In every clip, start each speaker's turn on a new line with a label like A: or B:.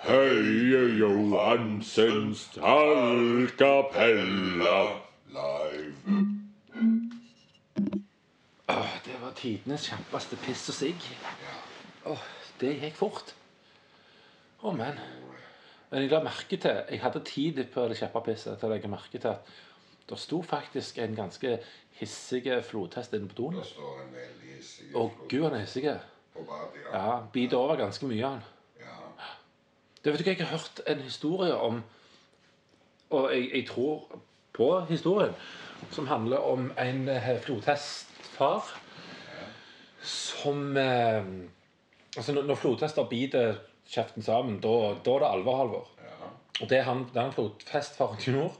A: Høie Johansens tallkapella live.
B: Åh, det var tidenes kjappeste piss og sigg. Åh, det gikk fort. Å, men. Men jeg la merke til Jeg hadde tid på det kjappe pisset til å legge merke til at det sto faktisk en ganske hissig flodhest inne på doen.
A: Det står en veldig hissig
B: Å, gud, han er hissig.
A: på badet, ja.
B: Ja, biter over ganske mye, han.
A: Ja.
B: Du vet du hva, jeg har hørt en historie om Og jeg, jeg tror på historien. Som handler om en eh, flodhestfar som eh, Altså, når, når flodhester biter kjeften sammen, da da er det alvor, Halvor. Og det han, den flodhestfaren gjorde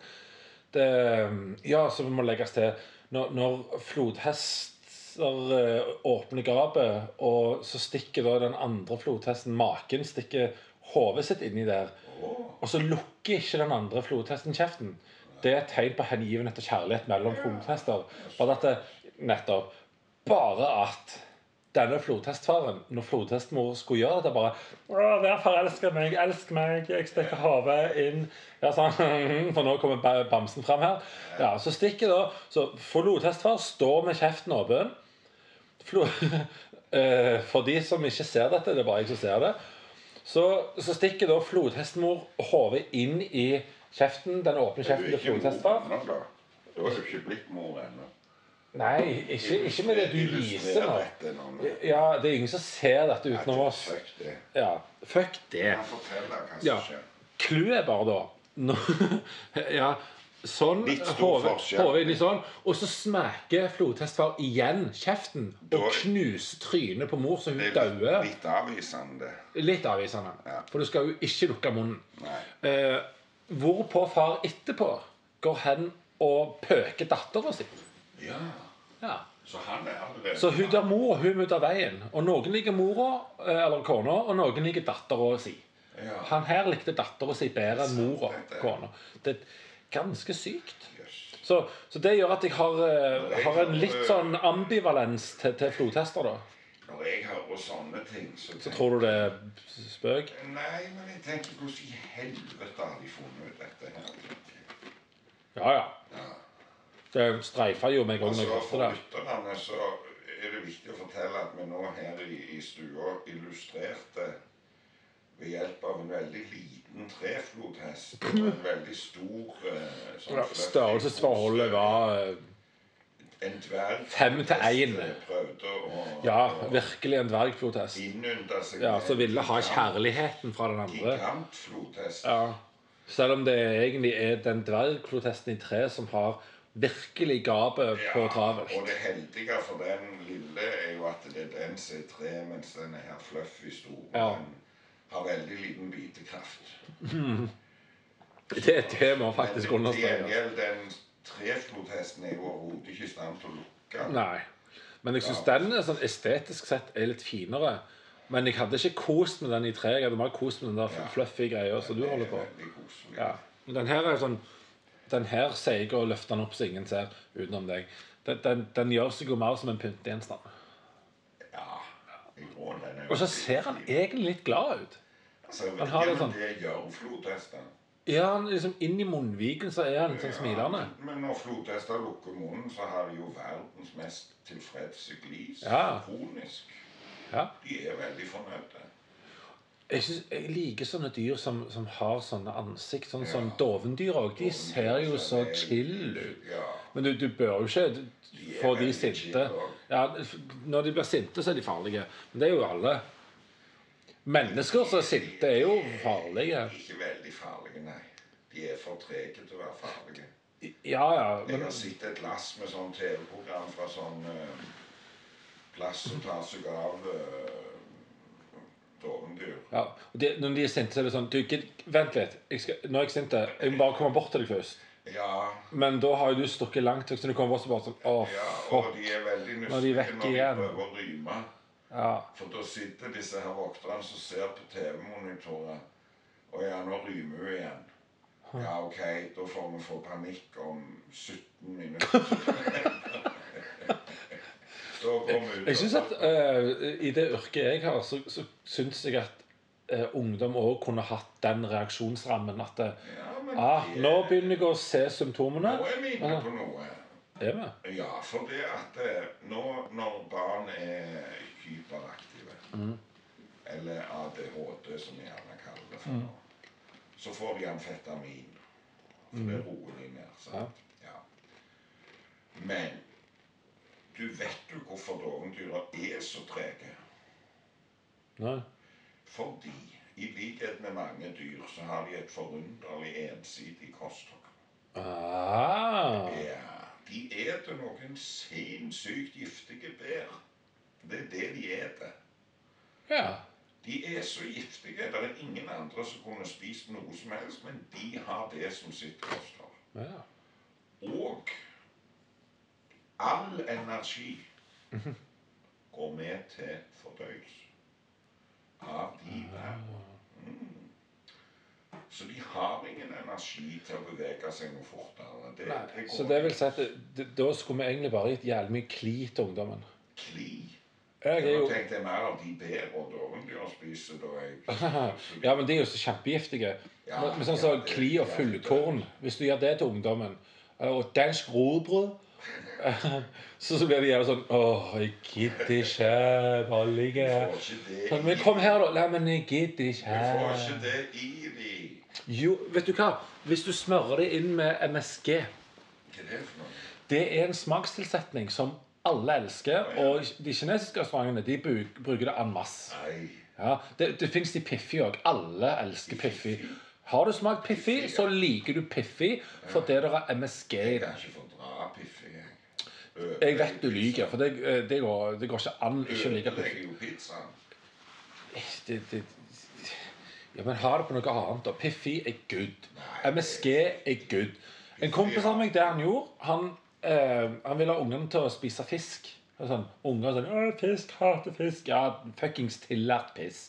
B: det, eh, Ja, så vi må legges til Når, når flodhester eh, åpner gapet, og så stikker da den andre flodhesten maken stikker hodet sitt inni der, og så lukker ikke den andre flodhesten kjeften. Det er et tegn på hengivenhet og kjærlighet mellom flodhester. Bare at det, nettopp Bare at denne flodhestfaren, når flodhestmor skulle gjøre dette, bare «Å, 'Vær forelska i meg, elsk meg, jeg stikker hodet inn' ja, sånn, For nå kommer ba- bamsen fram her. Ja, Så stikker da Så flodhestfar står med kjeften åpen. Flo, Eh, for de som ikke ser dette, det er bare jeg som ser det, så, så stikker da flodhestmor hodet inn i kjeften, den åpne
A: Du er
B: kjeften til
A: ikke
B: flodhestfar.
A: mor ennå, da. Du har jo ikke blitt mor ennå.
B: Nei, ikke, ikke med det du viser nå.
A: nå.
B: Ja, det er ingen som ser dette utenom oss.
A: Fuck det.
B: Ja, fuck det.
A: Han forteller hva
B: Ja.
A: som skjer.
B: Clouet er bare da nå- Ja, sånn
A: Litt stor
B: hodet
A: forskjell.
B: hodet inni sånn, og så smaker flodhestfar igjen kjeften og
A: Da-
B: knuser trynet på mor, så hun
A: Det er litt-
B: dauer.
A: litt avvisende.
B: Litt avvisende.
A: Ja.
B: For du skal jo ikke lukke munnen.
A: Nei.
B: Eh, hvorpå far etterpå går hen og pøker dattera si.
A: Ja,
B: Ja.
A: så han er allerede
B: Så hun der mor, hun må ut av veien. Og noen liker mora, eh, eller kona, og noen liker dattera si.
A: Ja.
B: Han her likte dattera si bedre enn mora,
A: Sant, det er det.
B: kona. Det er ganske sykt.
A: Yes.
B: Så, så det gjør at jeg har, eh, har en litt sånn ambivalens til, til flodhester, da.
A: Når jeg hører sånne ting, så
B: Så
A: tenker
B: tror du det er spøk?
A: Nei, men jeg tenker hvordan i helvete har de funnet ut dette her?
B: Ja, ja. Det streifa jo meg òg når jeg
A: Altså,
B: hørte
A: For
B: det.
A: lytterne så er det viktig å fortelle at vi nå her i, i stua illustrerte ved hjelp av en veldig liten treflodhest og en veldig stor eh, sånn
B: Ja,
A: fløtt-
B: Størrelsesforholdet var eh,
A: En dverg
B: Fem til en.
A: prøvde å
B: ja,
A: å
B: virkelig en dvergflodhest.
A: innynde seg
B: Ja,
A: med
B: Som ville ha
A: en
B: kjærligheten fra den andre.
A: Gigantflodhest.
B: Ja. Selv om det egentlig er den dvergflotesten i tre som har virkelig gapet på travelt.
A: Og det heldige for den lille er jo at det er den som er tre, mens den er her fluffy stor. og
B: Ja.
A: Den har veldig liten bitekraft.
B: Det er det vi faktisk
A: Men til
B: understreker.
A: gjengjeld, den treflodhesten er jo overhodet ikke i stand til å lukke.
B: Nei. Men jeg syns den er sånn estetisk sett er litt finere. Men jeg hadde ikke kost med den i tre. Jeg hadde mer kost med den der fluffy greia som du holder på.
A: Det er veldig koselig.
B: Ja. Men Den her er sånn Den her sier jeg å løfte den opp så ingen ser, utenom deg. Den, den, den gjør seg jo mer som en pyntegjenstand.
A: Ja, i grunnen er den
B: Og så ser han egentlig litt glad ut.
A: altså,
B: han har
A: ja,
B: det
A: men
B: sånn.
A: Det gjør flodhester.
B: Ja, han liksom Inni munnviken så er han sånn smilende.
A: Men når flodhester lukker munnen, så har de jo verdens mest tilfredse glis.
B: Ja.
A: Kronisk.
B: Ja.
A: De er veldig fornøyde.
B: Jeg, synes, jeg liker sånne dyr som, som har sånne ansikt, sånn som dovendyr òg. De ser jo så chill ut.
A: Ja.
B: Men du, du bør jo ikke d-
A: De er
B: få de
A: veldig
B: sinte.
A: chill også.
B: Ja, f- når de blir sinte, så er de farlige. Men det er jo alle. Mennesker som er sinte, er jo farlige.
A: Ikke veldig farlige, nei. De er for trege til å være farlige.
B: Ja, ja.
A: Jeg
B: Men,
A: har sett et lass med sånn TV-program fra sånn eh, plass som tar seg av eh, dovendyr.
B: ja. Og de, når de er sinte, så er det sånn du, gidd- Vent litt. Jeg skal, nå er jeg sint. Jeg må bare komme bort til deg først.
A: Ja,
B: Men da har jo du stukket langt vekk, så du kommer bort og bare sånn Å,
A: ja, og
B: fuck.
A: de er veldig
B: Nå er de
A: nysgjerrige
B: vekk
A: når de
B: igjen.
A: prøver å ryme.
B: Ja.
A: For da sitter disse her vokterne som ser på TV-monitorer. Og ja, nå rymer hun igjen. Ja, OK, da får vi få panikk om 17 minutter. da kommer vi ut.
B: Jeg syns at eh, i det yrket jeg har, så, så syns jeg at eh, ungdom òg kunne hatt den reaksjonsrammen at eh,
A: Ja, men
B: ah,
A: det-
B: Nå begynner Ah. jeg å se symptomene.
A: Nå er vi inne på noe.
B: Er vi?
A: Ja, for det at eh, nå når barn er hyperaktive,
B: Mm.
A: eller ADHD som vi gjerne kaller det for nå, så får de amfetamin. For det roer de ned. sant? Mm. Ja. Men du vet jo hvorfor dovendyra er så trege.
B: Nei.
A: Fordi, i likhet med mange dyr, så har de et forunderlig ensidig kosthold.
B: Ah.
A: Ja, de eter noen sinnssykt giftige bær. Det er det de eter.
B: Ja.
A: De er så giftige. Det er ingen andre som kunne spist noe som helst, men de har det som sitt kosthold.
B: ja.
A: Og all energi går med til fordøyelse av de bærene. Mm. Så de har ingen energi til å bevege seg noe fortere. Det,
B: Nei.
A: det
B: Så
A: går
B: det vil si at det- da skulle vi egentlig bare gitt jævlig mye kli til ungdommen.
A: kli.
B: Jeg er
A: Jeg
B: jo
A: tenkte jeg mer av de bær og dovendyr spiser da jeg
B: Ja, men de er jo så kjempegiftige.
A: Ja,
B: men, men sånn
A: ja,
B: som
A: det-
B: kli og
A: ja,
B: fullkorn, hvis du gjør det til ungdommen, eh, og dansk robrød så, så blir de gjerne sånn Åh, jeg gidder ikke. Bare ligge her.
A: får ikke det
B: Sånn, Men
A: i-
B: kom her, Eh. da. Nei, men jeg gidder
A: Du får
B: ikke.
A: ikke det i de
B: Jo, vet du hva? Hvis du smører det inn med MSG
A: Hva er det for noe?
B: Det er en smakstilsetning som alle elsker, og de kinesiske restaurantene de bu- bruker det en masse.
A: Nei.
B: Ja, det, det fins de Piffi òg. Alle elsker Piffi. Har du smakt Piffi, så liker du Piffi fordi det er MSG i det.
A: Jeg kan ikke fordra Piffi. Jeg,
B: Jeg vet du lyver, for det, eh, det, går, det går ikke an ikke å like Piffi.
A: Ødelegger jo pizzaen.
B: Det, det, ja, men ha det på noe annet, da. Piffi er good.
A: Nei.
B: MSG er good. En kompis av meg, det han gjorde Han, eh, han ville ha ungene til å spise fisk. Og Sånn, unger sånn «Åh, 'Fisk, hater fisk.' Ja, fuckings tillært piss.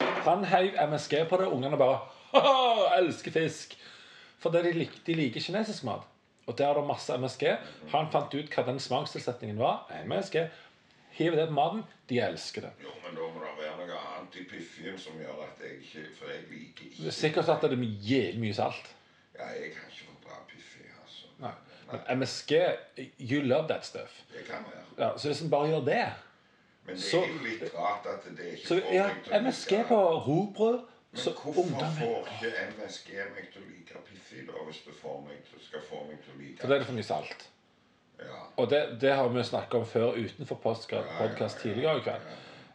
B: Han heiv MSG på det, ungene bare «Haha, 'Elsker fisk'. Fordi de, lik, de liker kinesisk mat. Og der er det masse MSG. Han fant ut hva den smakstilsetningen var. MSG. Hiver det på maten. De elsker det.
A: Jo, men da må det være noe annet i Piffien som gjør at jeg ikke For jeg liker
B: Det
A: ikke
B: er sikkert at det er jævlig mye salt.
A: Ja, jeg kan ikke fordra Piffi, altså.
B: Men MSG, you love that stuff.
A: Det kan være.
B: Ja, så hvis en bare gjør det
A: Men det
B: Så-
A: er jo litt rart at det ikke
B: Så
A: får
B: ja,
A: meg til å
B: MSG
A: like-
B: på rugbrød
A: Men
B: så
A: hvorfor
B: ungdommen
A: får ikke MSG meg til å like Piffi, da, hvis det får meg til, skal få meg til å
B: For
A: like
B: det er det for mye salt.
A: Ja.
B: Og det, det har vi snakka om før utenfor
A: ja,
B: podkast
A: ja,
B: tidligere i kveld.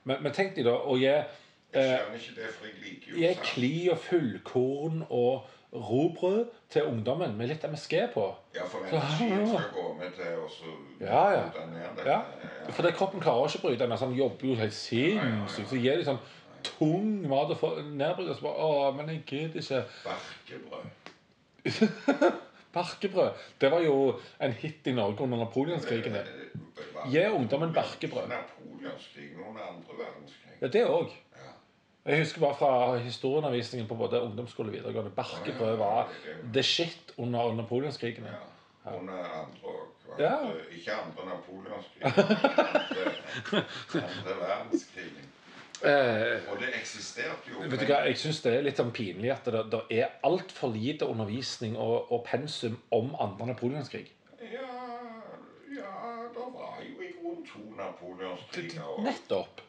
B: Men, men tenk deg da å gi,
A: Jeg skjønner ikke det, for jeg liker jo
B: gi
A: salt.
B: Äh, kli og fullkorn og rugbrød til ungdommen med litt MSG på.
A: Ja, for energien
B: Ah, Ja, ja.
A: skal gå med til å så
B: Ja, ja.
A: bryte ned dette.
B: Ja,
A: Ja.
B: for det kroppen klarer ikke å bryte den. altså, Han jobber jo helt sinnssykt. Så gir de sånn tung mat og får nedbryter. Så bare Å, men jeg gidder ikke.
A: Barkebrød.
B: Barkebrød. Det var jo en hit i Norge under
A: Äh,
B: napoleonskrigene.
A: Barkebrød.
B: Gi ungdommen barkebrød.
A: Napoleonskrig, noen andre verdenskrig.
B: Ja, det òg.
A: Ja.
B: Jeg husker bare fra historieundervisningen på både ungdomsskole og videregående. Barkebrød var the shit under napoleonskrigene.
A: Ja. Under andre òg.
B: Ja.
A: Ikke andre napoleonskrig, men andre, andre verdenskrigen.
B: Eh,
A: Og det eksisterte jo.
B: vet du hva, Jeg syns det er litt sånn pinlig at det, det er altfor lite undervisning og, og pensum om andre napoleonskrig.
A: Ja, ja, det var jo i grunnen to napoleonskriger òg.
B: Nettopp.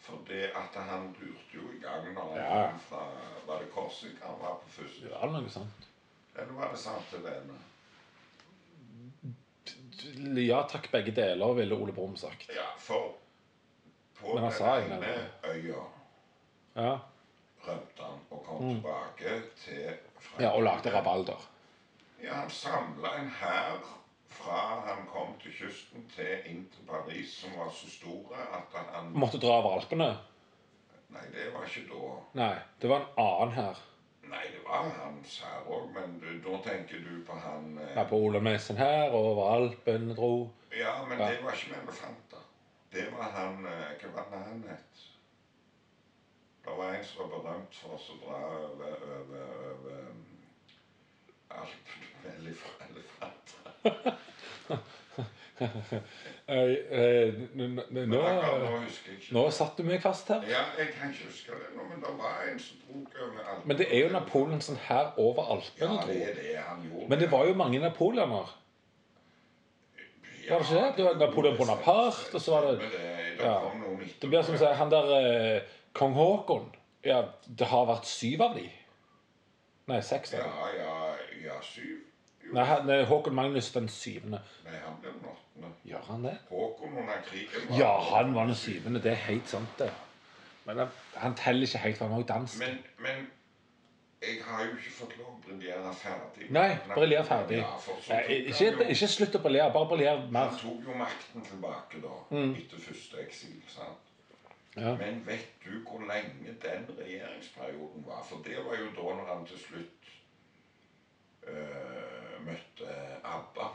A: For det at han lurte jo i gang når han
B: Ja.
A: kom fra Var det Korsika han var på først?
B: Det var noe sånt.
A: Eller var det Santelene?
B: Ja takk, begge deler, ville Ole Brumm sagt.
A: Ja, for på
B: Men han
A: den
B: sa jo
A: ene øya
B: Ja,
A: rømte han og kom tilbake til Frankrike.
B: Mm. ja Og lagde rabalder.
A: Ja, han samla en hær fra han kom til kysten til inn til Paris, som var så store at han
B: Måtte dra over Alpene.
A: Nei, det var ikke da.
B: Nei, det var en annen her.
A: Nei, det var hans hær òg, men du, da tenker du på han eh,
B: Ja, på Olamessen her, og over Alpen dro.
A: Ja, men
B: Ja.
A: det var ikke med elefanter. Det var han eh, Hva var det han het? Det var en som var berømt for å dra over, over, over um, Alpene med elef- elefanter.
B: Eh, eh, n- n- n-
A: Men
B: Nå,
A: akkurat nå husker jeg ikke.
B: nå satt du meg fast her.
A: Ja, jeg kan ikke huske det nå, men det var en som tok over alt.
B: Men det er jo Napoleonsen her overalt.
A: Ja,
B: vil jeg
A: det
B: tro.
A: er det han gjorde.
B: Men det var jo mange napoleoner.
A: Ja,
B: var det ikke det? Det var Napoleon Bonaparte, og så var det-
A: Men det, det
B: Ja.
A: kom noen
B: Det blir som å si han der eh, kong Haakon Ja, det har vært syv av de. Nei, seks. av de.
A: Ja, ja, ja, syv. Jo.
B: Nei, han- nei, Håkon Magnus den syvende.
A: Nei, han ble den åttende.
B: Gjør han det?
A: Håkon under krigen var-
B: Ja, han var den syvende. Det er helt sant, det. Men han, han teller ikke helt, for han var jo dansk.
A: Men, men jeg har jo ikke fått lov å briljere ferdig.
B: Nei, briljer ferdig.
A: Ja, for så
B: Eh,
A: tok
B: Ikke,
A: han jo-
B: ikke slutt å briljere, bare briljer
A: Han
B: mer. Mm.
A: tok jo makten tilbake da, etter første eksil. sant?
B: Ja.
A: Men vet du hvor lenge den regjeringsperioden var? For det var jo da når han til slutt øh, møtte ABBA.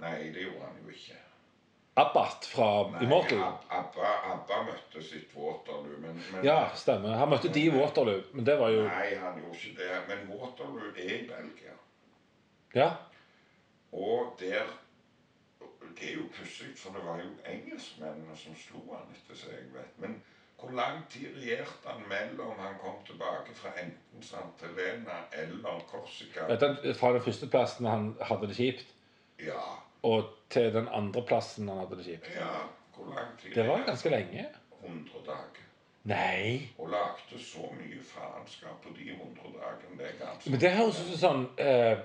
A: Nei, det gjorde han jo ikke.
B: Abbat fra
A: Nei,
B: Immortal.
A: Ab- ABBA, ABBA møtte sitt Waterloo, men, men
B: Ja, stemmer. Han møtte de i Waterloo, men det var jo
A: Nei, han gjorde ikke det. Men Waterloo er i Belgia.
B: Ja.
A: Og der Det er jo pussig, for det var jo engelskmennene som slo han etter seg, jeg vet. Men hvor lang tid regjerte han mellom han kom tilbake fra enten Sant Helena eller Korsika?
B: Vet du, Fra den første plassen han hadde det kjipt,
A: Ja,
B: og til den andre plassen han hadde det kjipt.
A: ja, hvor lang tid?
B: Det var
A: regjerte han?
B: ganske lenge.
A: 100 dager.
B: Nei.
A: Og lagde så mye faenskap på de 100 dagene. Det er ganske
B: Men det høres ut som sånn eh,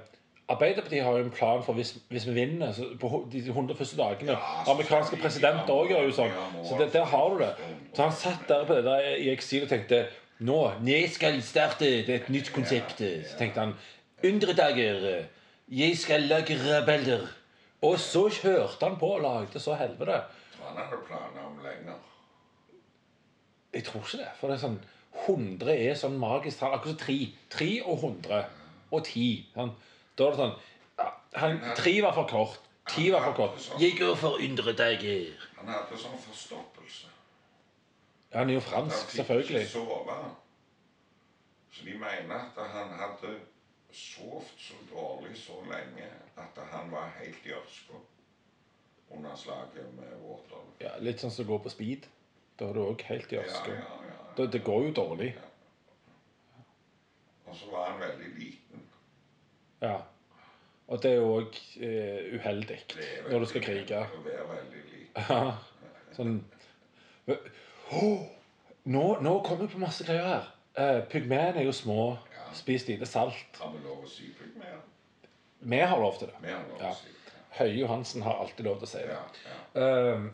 B: Arbeiderpartiet har jo en plan for hvis, hvis vi vinner så på ho- de 100 første dagene.
A: Ja, så
B: Amerikanske
A: skal vi-
B: presidenter òg gjør jo sånn.
A: ja, må-
B: Så det, der har du det. Så han satt der på det der i eksil og tenkte Nå, jeg skal starte det er et nytt konsept. Så tenkte han Undre dager. Jeg skal lage rebeller. Og så kjørte han på og lagde så helvete.
A: Han hadde planer om lenger.
B: Jeg tror ikke det. For det er sånn 100 er sånn magisk tall. Akkurat som 3. 3 og 100. Og 10. Sånn. Da er det sånn ja, han, 3 var for kort. 10 var for kort. Jeg går for yndre dager.
A: Han hadde sånn forstoppelse.
B: Ja, Han er jo
A: Han
B: fransk,
A: fikk
B: selvfølgelig.
A: ikke sove. Så de mener at han hadde sovet så dårlig så lenge at han var helt i ørska under slaget med Waterloo.
B: Ja, litt sånn som å gå på speed. Da er du òg helt i
A: Ja,
B: ørske.
A: ja, ja.
B: Det, det går jo dårlig.
A: Og så var han veldig liten.
B: Ja. Og det er jo òg eh, uheldig
A: Det er
B: når du
A: veldig
B: skal krige.
A: lett Å være veldig liten.
B: Ja, sånn «Åh, nå, nå kommer jeg på masse greier her. Uh, Pygmeene er jo små.
A: Ja.
B: Spis lite salt.
A: Har vi lov å si pygmeer?
B: Vi har lov til det.
A: Vi har lov
B: Ja.
A: å si det.
B: Høie Johansen har alltid lov til å si det.
A: Ja, ja.
B: Ehm,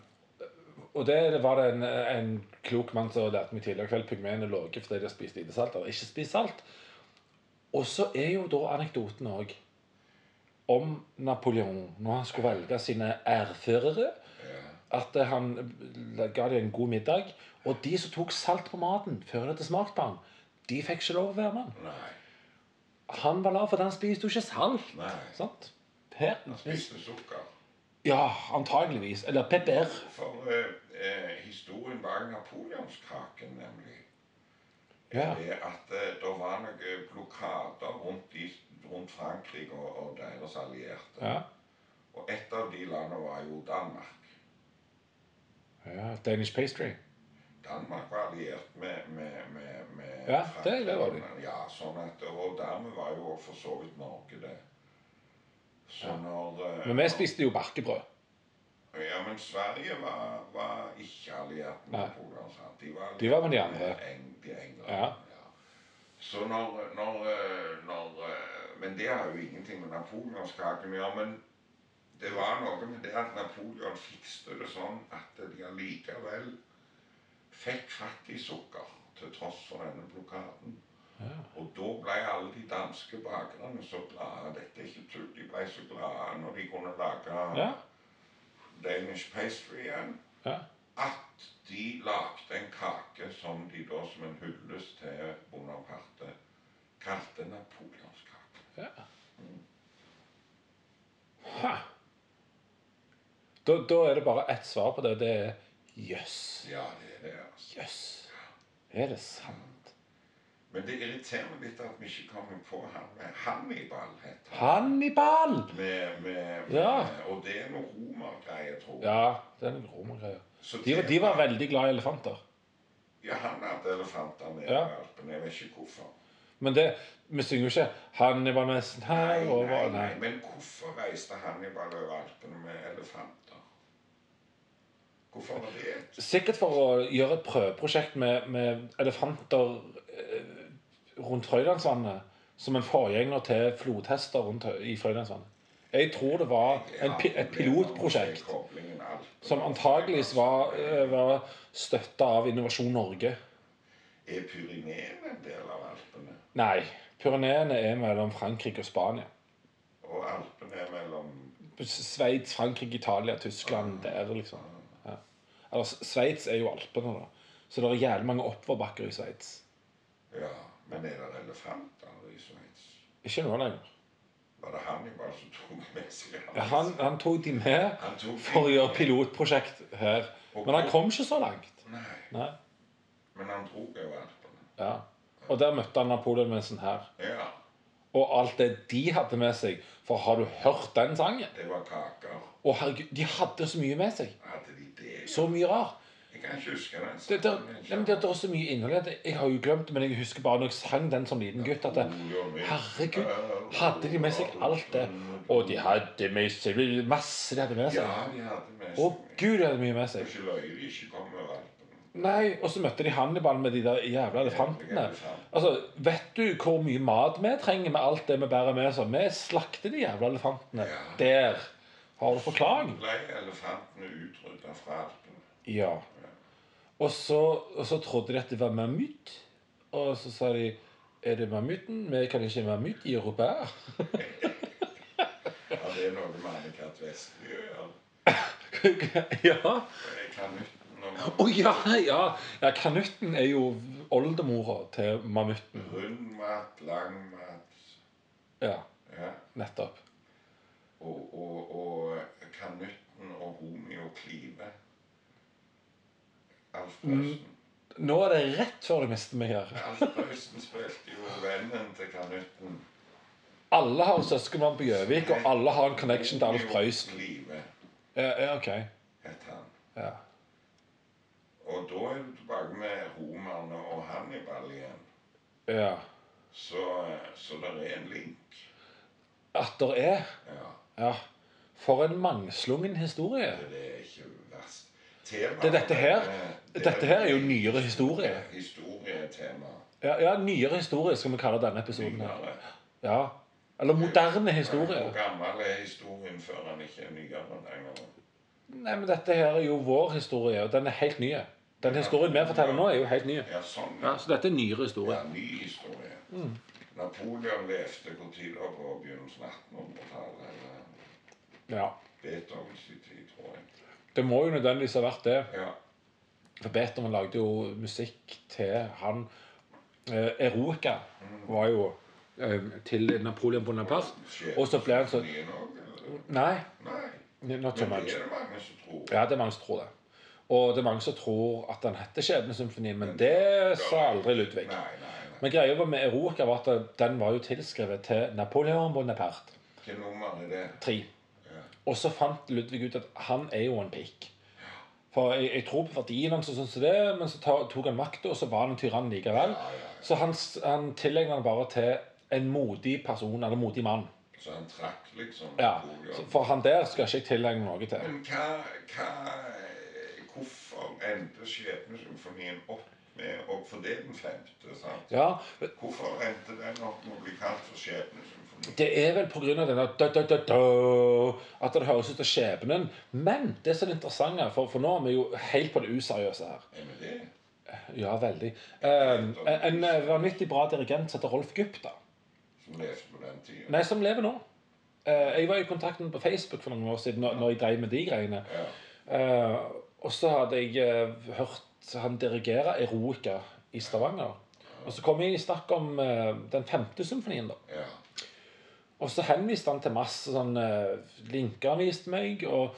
B: og det, det var det en, en klok mann som lærte meg tidligere i kveld. Pygmeene er lave fordi de har spist lite salt. Eller ikke spist salt. Og så er jo da anekdoten òg om Napoleon, når han skulle velge sine ærførere.
A: ja.
B: at eh, han ga dem en god middag. Og de som tok salt på maten før han hadde smakt på den, de fikk ikke lov å være med han.
A: Nei.
B: Han var lav, for han spiste jo ikke salt.
A: Nei.
B: Sant? Per,
A: Han spiste sukker.
B: ja, antageligvis. Eller pepper.
A: For eh, eh, historien bak napoleonskaken, nemlig,
B: Ja.
A: er at eh, det var noen blokader rundt, i, rundt Frankrike og, og deres allierte.
B: Ja.
A: Og et av de landene var jo Danmark.
B: ja. Danish pastry.
A: Danmark var alliert med, med, med, med
B: Ja, det- det var de.
A: men- Ja, sånn at, og dermed var jo også for så vidt Norge det. Så når eh,
B: Men vi spiste jo barkebrød.
A: Ja, men Sverige var, var ikke alliert med
B: Nei.
A: Polen. Sant? De var,
B: De var med de
A: alliert
B: andre.
A: Eng, de England,
B: Ja.
A: ja. Så når, når, eh, når eh, Men det har jo ingenting med napoleonskaken å gjøre. Men det var noe med det at Napoleon fikste det sånn at de allikevel fikk fattig sukker til tross for denne blokaden. Og da ble alle de danske bakerne så glade. Dette er ikke tull. De ble så glade når de kunne lage
B: Ja.
A: Danish pastry igjen,
B: ja.
A: at de lagde en kake som de da som en hyllest til Bonaparte kalte napoleonskake.
B: ja. Ha. Da, da er det bare ett svar på det. Det er jøss.
A: Ja, det er det, altså.
B: Jøss. Er det sant?
A: Men det irriterer meg litt at vi ikke kommer på han med Hannibal. het han.
B: Hannibal!
A: Med, med, med,
B: Ja.
A: Og det er noe romergreier, tror jeg.
B: Ja, det er en romergreie.
A: Så
B: De, var-
A: det-
B: de var veldig glad i elefanter.
A: Ja, han hadde elefanter nede
B: Ja.
A: i Alpene. Jeg vet ikke hvorfor.
B: Men det, vi synger jo ikke 'Hannibal nesten her' og
A: nei,
B: hva-
A: nei.
B: Nei.
A: Men hvorfor reiste Hannibal over Alpene med elefanter? Hvorfor var det et
B: Sikkert for å gjøre et prøveprosjekt med, med elefanter eh, rundt Frøylandsvannet. Som en forgjenger til flodhester rundt Hø- i Frøylandsvannet. Jeg tror det var en, pi- et pilotprosjekt som antageligvis var, eh, var støtta av Innovasjon Norge.
A: Er Pyreneen en del av Alpene?
B: Nei. Pyreneene er mellom Frankrike og Spania.
A: Og Alpene er mellom
B: Sveits, Frankrike, Italia, Tyskland der, liksom. Ja. Eller S- Sveits er jo Alpene, da. Så det er jævlig mange oppoverbakker i Sveits.
A: Ja, men er det elefanter i Sveits?
B: Ikke nå lenger.
A: Var det Hannibal som tok med seg
B: Ja, Han, han tok de med
A: Han tok de
B: for å gjøre
A: med.
B: pilotprosjekt her. Men han kom ikke så langt.
A: Nei,
B: Nei.
A: men han dro jo Alpene.
B: Ja. Og der møtte han Napoleon med en sånn her.
A: Ja,
B: Og alt det de hadde med seg. For har du hørt den sangen?
A: det var kaker.
B: Å herregud, de hadde så mye med seg.
A: Hadde de det?
B: Så mye rart.
A: Jeg kan ikke huske den.
B: Det, det, nei, men det, det er så mye innhold i det. Jeg har jo glemt det, men jeg husker bare når jeg sang den som liten gutt, at det, herregud, hadde de med seg alt det? Og de hadde med seg masse de hadde med
A: Ja,
B: seg.
A: de hadde med
B: Å
A: seg
B: gud, de hadde mye med seg.
A: Ikke løy de ikke kom med valpene.
B: Nei, og så møtte de Hannibal med de der jævla elefantene. Altså, vet du hvor mye mat vi trenger med alt det vi bærer med oss? Vi slakter de jævla elefantene. Der har du forklaring.
A: Ble elefantene utrydda fra Alpene?
B: Ja. Og så, og så trodde de at det var mammut. Og så sa de Er det mammuten? Vi kan ikke ha mammut i Europa.
A: Ja, det er noe med Anne-Kat. Vestby å gjøre.
B: ja. Å
A: Jeg kan nytten om
B: ja, ja. ja! Kanutten er jo oldemora til mammuten.
A: rund mat, lang mat
B: Ja,
A: ja.
B: nettopp.
A: Og, og, og kanutten og Romeo Kline. Alf
B: Mm.
A: Prøysen.
B: Nå er det rett før du mister meg her.
A: Alf Prøysen spilte jo vennen til kanutten.
B: Alle har søskenbarn på Gjøvik, og alle har en connection til Alf
A: Romeo
B: Prøysen.
A: Kline
B: Ja, ja, ok.
A: het han.
B: Ja.
A: Og da er du tilbake med romerne og Hannibal igjen.
B: ja.
A: Så, så det er en link.
B: At der er
A: Ja,
B: Ja. For en mangslungen historie.
A: det er ikke verst. Temaet
B: Det er dette her-
A: det
B: dette her er jo nyere historie.
A: Historietema.
B: Ja, ja, nyere historie skal vi kalle denne episoden her.
A: Nyere.
B: Ja. Eller moderne historie.
A: Hvor gammel er historien før han ikke er nyere lenger?
B: Nei, men dette her er jo vår historie, og den er helt ny. Den historien vi forteller nå, er jo helt ny.
A: Ja, sånn.
B: Ja, Så dette er nyere
A: Ja,
B: historie. Mm.
A: ny historie. Napoleon levde hvor tid da på begynnelsen av 1800-tallet? Eller
B: Ja.
A: Beethovens tid, tror jeg.
B: Det må jo nødvendigvis ha vært det.
A: Ja.
B: For Beethoven lagde jo musikk til han eh, Eroica var jo eh, til Napoleon Bonaparte. Og så ble han så
A: Nye Norge, eller?
B: Nei,
A: Nei.
B: not so
A: Men
B: much.
A: det er det mange som tror.
B: Ja, det er mange som tror det. Og det er mange som tror at den heter Skjebnesymfonien, men det sa aldri Ludvig.
A: Nei, nei, nei.
B: Men greia var med Eroica var at den var jo tilskrevet til Napoleon Bonaparte.
A: Hvilket nummer er det?
B: Tre. Og så fant Ludvig ut at han er jo en pikk. For jeg, jeg tror på verdien hans, og sånn som det, men så ta, tok han makta, og så var han en tyrann likevel. Så han, s- han tilegna han bare til en modig person, eller modig mann.
A: Så han trakk liksom
B: Ja,
A: Napoleon.
B: så For han der skal ikke jeg tilegne noe til.
A: Men hva, hva Hvorfor endte Skjebnesymfonien opp med å For det er den femte, sant?
B: Ja,
A: Hvorfor endte den opp med å bli kalt for Skjebnesymfonien?
B: Det er vel pga. denne da, da, da, da, at det høres ut som skjebnen. Men det som er interessant, her, for, for nå er vi jo helt på det useriøse her.
A: Er vi det?
B: Ja, veldig. Um, en en vanvittig bra dirigent som heter Rolf Gupta.
A: Som levde på den tida?
B: Nei, som lever nå. Eh, jeg var i kontakt med ham på Facebook for noen år siden når, når jeg drev med de greiene.
A: Ja.
B: Eh, og så hadde jeg eh, hørt han dirigere Eroica i Stavanger. Og så kom jeg i snakk om eh, den femte symfonien, da.
A: ja.
B: Og så henviste han til masse sånn eh, linker han viste meg, og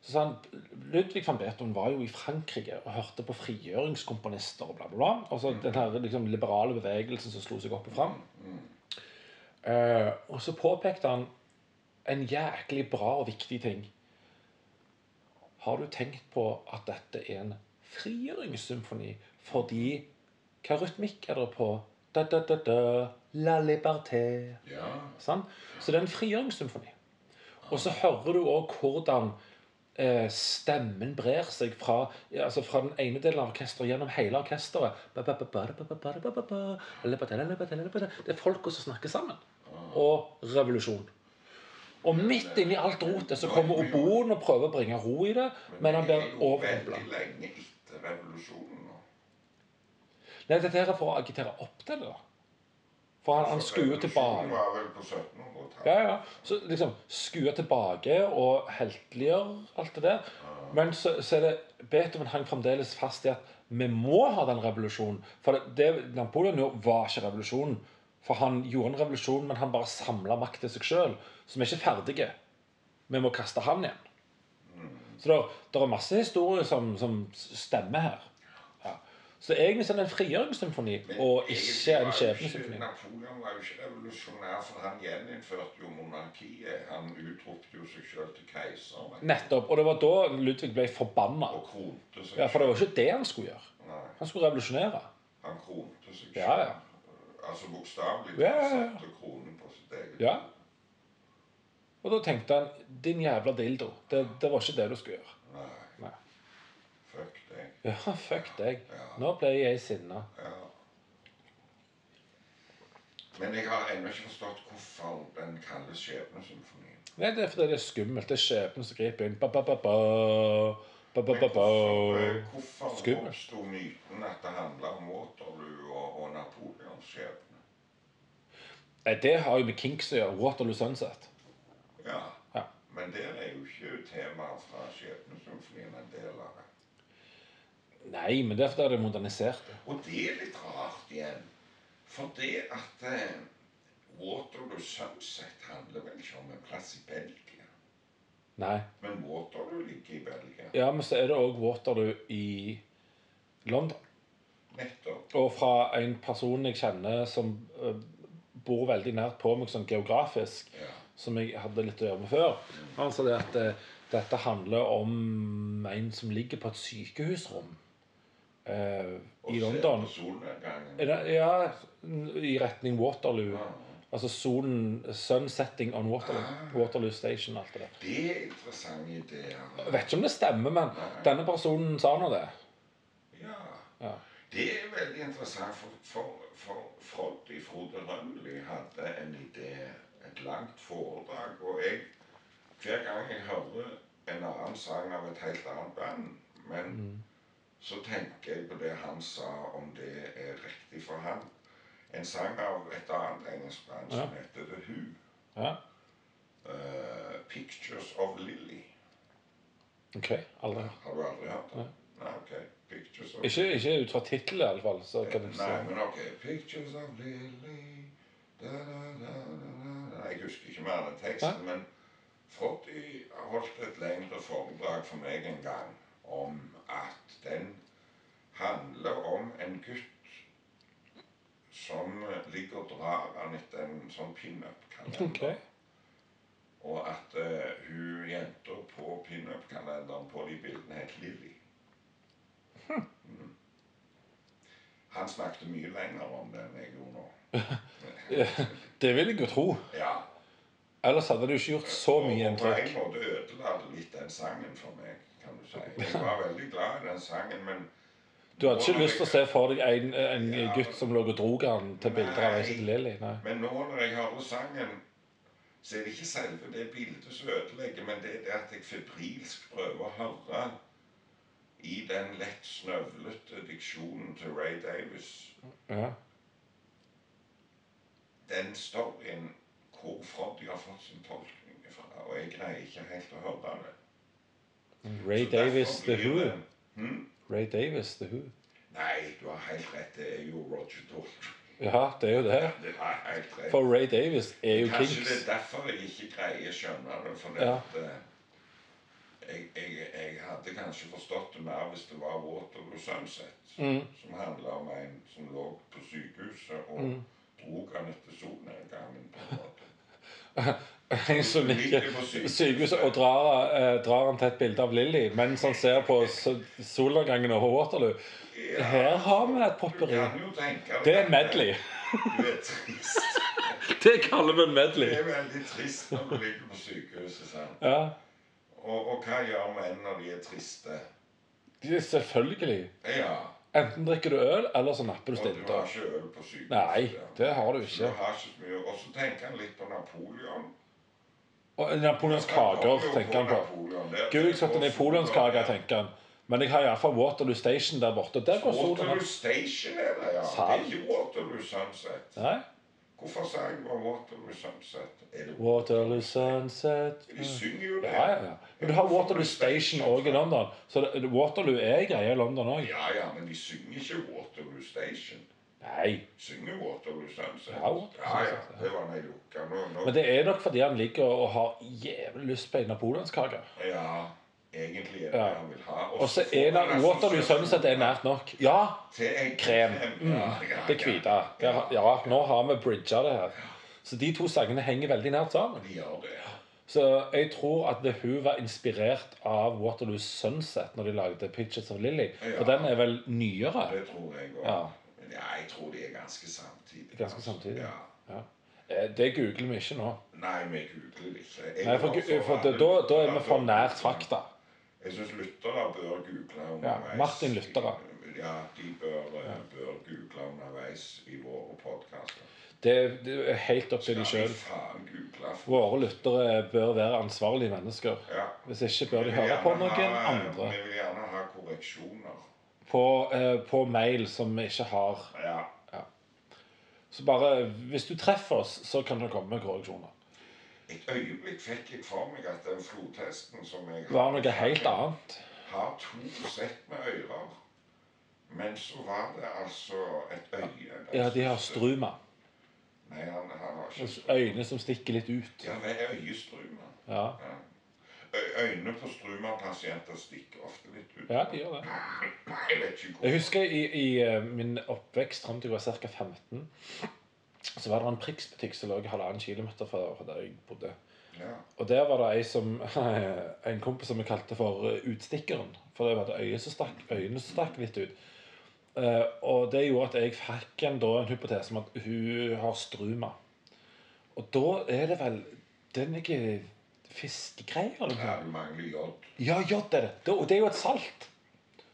B: Så sa han Ludvig van Beethoven var jo i Frankrike og hørte på frigjøringskomponister og bla, bla, bla. Og så den her liksom, liberale bevegelsen som slo seg opp og fram.
A: Mm,
B: Eh, og så påpekte han en jæklig bra og viktig ting. Har du tenkt på at dette er en frigjøringssymfoni? Fordi hva rytmikk er det på? Da, da, da, da, la liberté.
A: Ja.
B: Sant? Så det er en frigjøringssymfoni. Og så hører du òg hvordan eh, stemmen brer seg fra, ja, altså fra den ene delen av orkesteret gjennom hele orkesteret. Ba, ba, ba, ba, ba, ba, ba, ba, ba, ba. Lalibadé, lalibadé, lalibadé. Det er folka som snakker sammen.
A: Ah.
B: Og revolusjon. Og midt inni alt rotet så kommer oboen og prøver å bringe ro i det, men han
A: vi er
B: blir
A: jo
B: overrumpla.
A: veldig lenge etter revolusjonen nå.
B: Nei, dette her er for å agitere opp til det, da. For han, han skuer tilbake.
A: Revolusjonen var vel på 1700-tallet.
B: Ja, ja. Så liksom skue tilbake og heltliggjør alt det der. Men så, så er det Beethoven hang fremdeles fast i at vi må ha den revolusjonen. For det, det Napoleon gjorde, var ikke revolusjonen. For han gjorde en revolusjon, men han bare samla makt til seg sjøl. Så vi er ikke ferdige. Vi må kaste han igjen.
A: Mm.
B: Så det, det er masse historier som, som stemmer her. Ja. Så egentlig så er det en frigjøringssymfoni
A: Men
B: og
A: egentlig
B: ikke
A: var
B: en
A: jo ikke-
B: skjebnesymfoni.
A: Napoleon var jo ikke revolusjonær, for han gjeninnførte jo monarkiet. Han utropte jo seg sjøl til keiser men-
B: Nettopp. Og det var da Ludvig ble forbanna.
A: og kronte seg
B: Ja, for det var ikke det han skulle gjøre.
A: selv. Nei,
B: Han skulle revolusjonere.
A: Han kronte seg
B: Ja,
A: selv.
B: ja.
A: Altså bokstavelig
B: Ja,
A: talt
B: ja, ja.
A: satte kronen på sitt eget
B: Ja. Og da tenkte han Din jævla dildo. Det, det var ikke det du skulle gjøre.
A: Nei,
B: Nei.
A: fuck deg.
B: Ja, fuck deg. Nå ble jeg sinna.
A: Ja. Men jeg har ennå ikke forstått hvorfor den kalles Skjebnesymfonien.
B: Nei, det er fordi det er skummelt. Det er skjebnen som griper inn. Ba, ba, ba, ba. Ba, ba,
A: Men
B: ba, ba.
A: Hvorfor eh, hvorfor
B: Skummelt.
A: oppsto myten at det handla om Waterloo og, og Napoleons skjebne?
B: Nei, det har jo med Kinks å gjøre. Waterloo Sunset.
A: Ja.
B: Ja.
A: Men der er jo ikke temaet fra Skjebnesymfonien en del av det.
B: Nei, men det er fordi det er modernisert.
A: Og det er litt rart igjen. For det at eh, Waterloo Sunset handler vel ikke om en plass i Belgia.
B: Nei.
A: Men Waterloo ligger i Belgia.
B: Ja, men så er det òg Waterloo i London.
A: Nettopp.
B: Og fra en person jeg kjenner som eh, bor veldig nært på meg sånn geografisk,
A: Ja.
B: som jeg hadde litt å gjøre med før. Han sa det at eh, dette handler om en som ligger på et sykehusrom eh, i London.
A: Og ser på solnedgangen.
B: Er det- Ja, i retning Waterloo.
A: Ja.
B: Altså solen Sun setting on Waterloo. Waterloo Station, alt det der.
A: Det er interessante ideer.
B: Jeg vet ikke om det stemmer, men denne personen sa nå det.
A: Ja.
B: Ja.
A: Det er veldig interessant, for, for, for Froddy Frode Rømli hadde en idé, et langt foredrag, og jeg, hver gang jeg hører en annen sang av et helt annet band, men så tenker jeg på det han sa, om det er riktig for han. En sang av et annet engelsk band som heter The Who,
B: ja.
A: eh, Pictures of Lily.
B: OK. Aldri.
A: Har du aldri hørt den? Nei, ok. Pictures of
B: Ikke, ikke ut fra tittelen, iallfall. Så kan du
A: Nei,
B: si
A: men ok. Pictures of Lily da, da, da, da, da, da. Jeg husker ikke mer den teksten, men Froddy holdt et lengre foredrag for meg en gang om at den handler om en gutt som ligger og drar han etter en sånn pinup-kalender.
B: OK.
A: Og at eh, hun jenta på pinup-kalenderen på de bildene het Lilly.
B: Hm.
A: Mm. Han snakket mye lenger om det enn jeg gjorde nå.
B: Det vil jeg jo tro.
A: Ja.
B: Ellers hadde du ikke gjort så
A: Og-
B: mye
A: og på en
B: inntrykk.
A: måte ødela det litt den sangen for meg, kan du si. Jeg var veldig glad i den sangen, men
B: Du hadde ikke lyst til å se for deg en, en
A: Ja.
B: gutt som lå og drog han til bilder av ei som
A: Nei.
B: heter Lilly. Nei.
A: Men nå når jeg hører sangen, så er det ikke selve det bildet som ødelegger, men det er det at jeg febrilsk prøver å høre i den lett snøvlete diksjonen til Ray Davis
B: Ja.
A: den storyen hvor Froddy har fått sin tolkning ifra, og jeg greier ikke helt å høre det.
B: Ray
A: Så
B: Davis
A: derfor
B: The
A: blir
B: Who.
A: det- Hm?
B: Ray Davis The Who.
A: Nei, du har helt rett. Det er jo Roger Daltrey.
B: Ja, det er jo det.
A: Det er helt rett.
B: For Ray Davis er jo
A: Kanskje det
B: Kings.
A: er derfor jeg ikke greier å skjønne det. For det
B: Ja.
A: at eh, jeg, jeg, jeg hadde kanskje forstått det mer hvis det var Waterloo Sunset,
B: Mm.
A: som handla om en som lå på sykehuset og
B: Mm.
A: drog han etter solnedgangen. på en måte.
B: En som ligger på sykehuset og drar, eh, drar han til et bilde av Lilly mens han ser på s- solnedgangen over Waterloo. Her har vi et
A: Du
B: popperi.
A: kan jo tenke
B: Det er en medley.
A: Du er trist.
B: Det kaller vi en
A: Det
B: medley.
A: er veldig trist når du ligger på sykehuset. sant?
B: Ja,
A: Og, og hva gjør menn når de er triste?
B: det er selvfølgelig.
A: Ja,
B: Enten drikker du øl, eller så napper du
A: og du
B: stilter.
A: har ikke øl på sykehuset.
B: Nei, det har du
A: Så du
B: ikke.
A: har ikke så mye. Og så tenker han litt på Napoleon.
B: Og Napoleons kaker tenker han på. Gud, jeg satte napoleonskake, tenker han. Men jeg har iallfall Waterloo Station der borte. Der går sola
A: Waterloo Station er det, ja. Det er
B: Sant.
A: ikke Waterloo Sunset.
B: Nei?
A: Hvorfor sa jeg bare Waterloo Sunset? Er det
B: Waterloo Sunset
A: De synger jo det.
B: Ja, ja, ja. Men du har Waterloo Station òg i London. Så det- Waterloo er en greie i London òg.
A: Ja, ja, men de synger ikke Waterloo Station.
B: Nei.
A: Synger Waterloo Sunset.
B: Ja, Waterloo
A: ja, ja.
B: Sunset, ja.
A: Det var den jeg lukka nå. nå.
B: Men det er nok fordi han ligger og har jævlig lyst på en napoleonskake.
A: Ja, egentlig er det
B: Ja.
A: det han vil ha.
B: Og så er det Waterloo Sunset er nært nok. Ja, krem. Mm, det hvite. Det har- Ja, nå har vi bridga det her. Så de to sangene henger veldig nært sammen.
A: De gjør det.
B: Så jeg tror at det- hun var inspirert av Waterloo Sunset når de lagde 'Pictures of Lily'. For
A: Ja.
B: den er vel nyere?
A: Det tror jeg òg.
B: Ja.
A: Men ja, jeg tror de er ganske samtidig.
B: Ganske samtidig.
A: Ja.
B: Ja. Eh, Det googler vi ikke nå.
A: Nei, vi googler det ikke. Jeg
B: Nei, for,
A: var
B: gu- for
A: alle
B: det, da, da er vi
A: lyttere
B: for
A: bør-
B: nær fakta.
A: Jeg syns lyttere bør google underveis.
B: Martin lyttere.
A: Ja, de bør, eh, bør google underveis i våre podkaster.
B: Det, det er helt opp til de
A: Ja,
B: sjøl.
A: de faen google.
B: Våre lyttere bør være ansvarlige mennesker.
A: Ja.
B: Hvis ikke bør de
A: Vi vil
B: høre på
A: gjerne
B: noen
A: ha-
B: andre.
A: Vi vil gjerne ha korreksjoner.
B: På, eh, på mail som vi ikke har.
A: Ja.
B: Så bare Hvis du treffer oss, så kan du komme med korreksjoner.
A: Et øyeblikk fikk jeg for meg at den flodhesten som jeg
B: Det var noe helt annet.
A: har to sett med ører. Men så var det altså et øye
B: Ja, de har struma.
A: Nei, han, han har ikke struma.
B: Øyne som stikker litt ut.
A: Ja, det er øyestruma.
B: Ja,
A: Ja. Ø- Øynene på struma-pasienter stikker ofte litt ut.
B: ja de gjør det.
A: Jeg vet ikke
B: Jeg
A: hvor.
B: husker i, i eh, min oppvekst fram til jeg var ca. 15, så var det en Prix-butikk som lå halvannen kilometer fra fra der jeg bodde.
A: Ja.
B: Og der var det ei som, en kompis som vi kalte for eh, Utstikkeren. For det var det øyet som stakk, øynene som stakk litt ut. Eh, og det gjorde at jeg fikk en, da, en hypotese om at hun har struma. Og da er det vel Det er noe fiskegreier eller
A: ja,
B: noe.
A: du mangler jod.
B: Ja, jod er det. Det- Og det er jo et salt.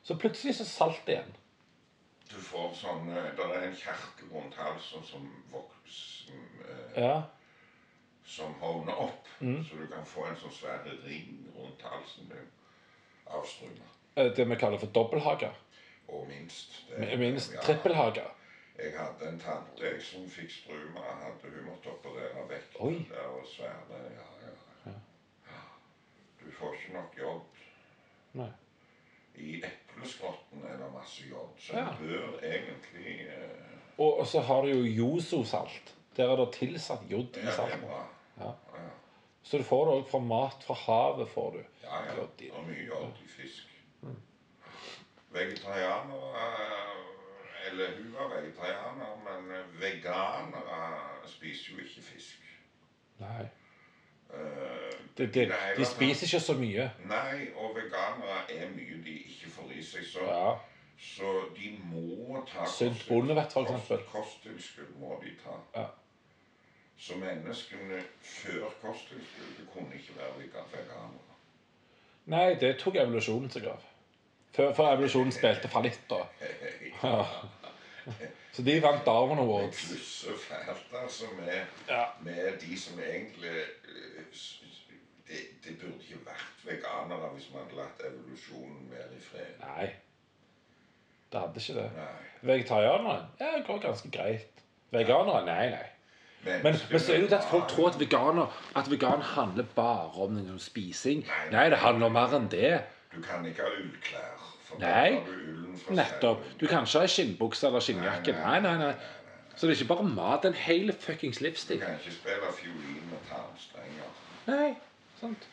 B: Så plutselig så er salt igjen.
A: Du får sånn ø, Det er en kjerke rundt halsen som voksen ø,
B: Ja.
A: som hovner opp,
B: Mm.
A: så du kan få en sånn svær ring rundt halsen din av struma.
B: Eh, det vi kaller for dobbelthage.
A: Og minst. det-
B: Minst
A: Ja.
B: trippelhage.
A: Jeg hadde en tante jeg, som fikk struma. Hadde hun måtte operere vekk
B: Oi.
A: det der og sverre. Ja, ja, ja. Du får ikke nok jod.
B: Nei.
A: I epleskrotten er det masse jod, så
B: Ja.
A: en bør egentlig eh,
B: Og, og så har du jo Yoso-salt. Der er det tilsatt jod i
A: ja, det er
B: salten.
A: bra.
B: Ja.
A: Ja,
B: Så du får det òg fra mat fra havet. får du.
A: ja. ja.
B: Jod i
A: Det
B: det.
A: er mye jod i fisk. Vegetarianere eh, Eller hun var vegetarianer, men eh, veganere spiser jo ikke fisk.
B: Nei.
A: Eh,
B: De, de,
A: Nei,
B: de spiser ikke så mye.
A: Nei, og veganere er mye de ikke får i seg. Så,
B: Ja.
A: så de må ta
B: Sunt
A: kosttilskudd.
B: bondevett, for eksempel.
A: Kost- Kosttilskudd må de ta.
B: Ja.
A: Så menneskene før kosttilskuddet kunne ikke være vega- veganere.
B: Nei, det tok evolusjonen seg av. Før, før evolusjonen spilte fallitt, da. Ja. Så de vant Darwin
A: Jeg
B: Awards.
A: klusser fælt altså med,
B: Ja.
A: med de som egentlig eh, s- s- det, det burde ikke vært veganere hvis man hadde latt evolusjonen være i fred.
B: Nei. Det hadde ikke det.
A: Nei.
B: Vegetarianere ja, det går ganske greit. Veganere nei, nei. Men,
A: Mennesker-
B: men så er det jo det at folk tror at veganer At vegan handler bare om liksom, spising. Nei, det handler om mer enn det.
A: Du kan ikke ha ullklær. For da
B: Nei.
A: tar du ullen fra
B: Nettopp.
A: sauen.
B: Du kan ikke ha skinnbukse eller skinnjakke. Nei, nei, nei. Så det er ikke bare mat. Det er en hel fuckings
A: Du
B: livsstil.
A: kan ikke spille fiolin med tarmstrenger.
B: Nei, sant.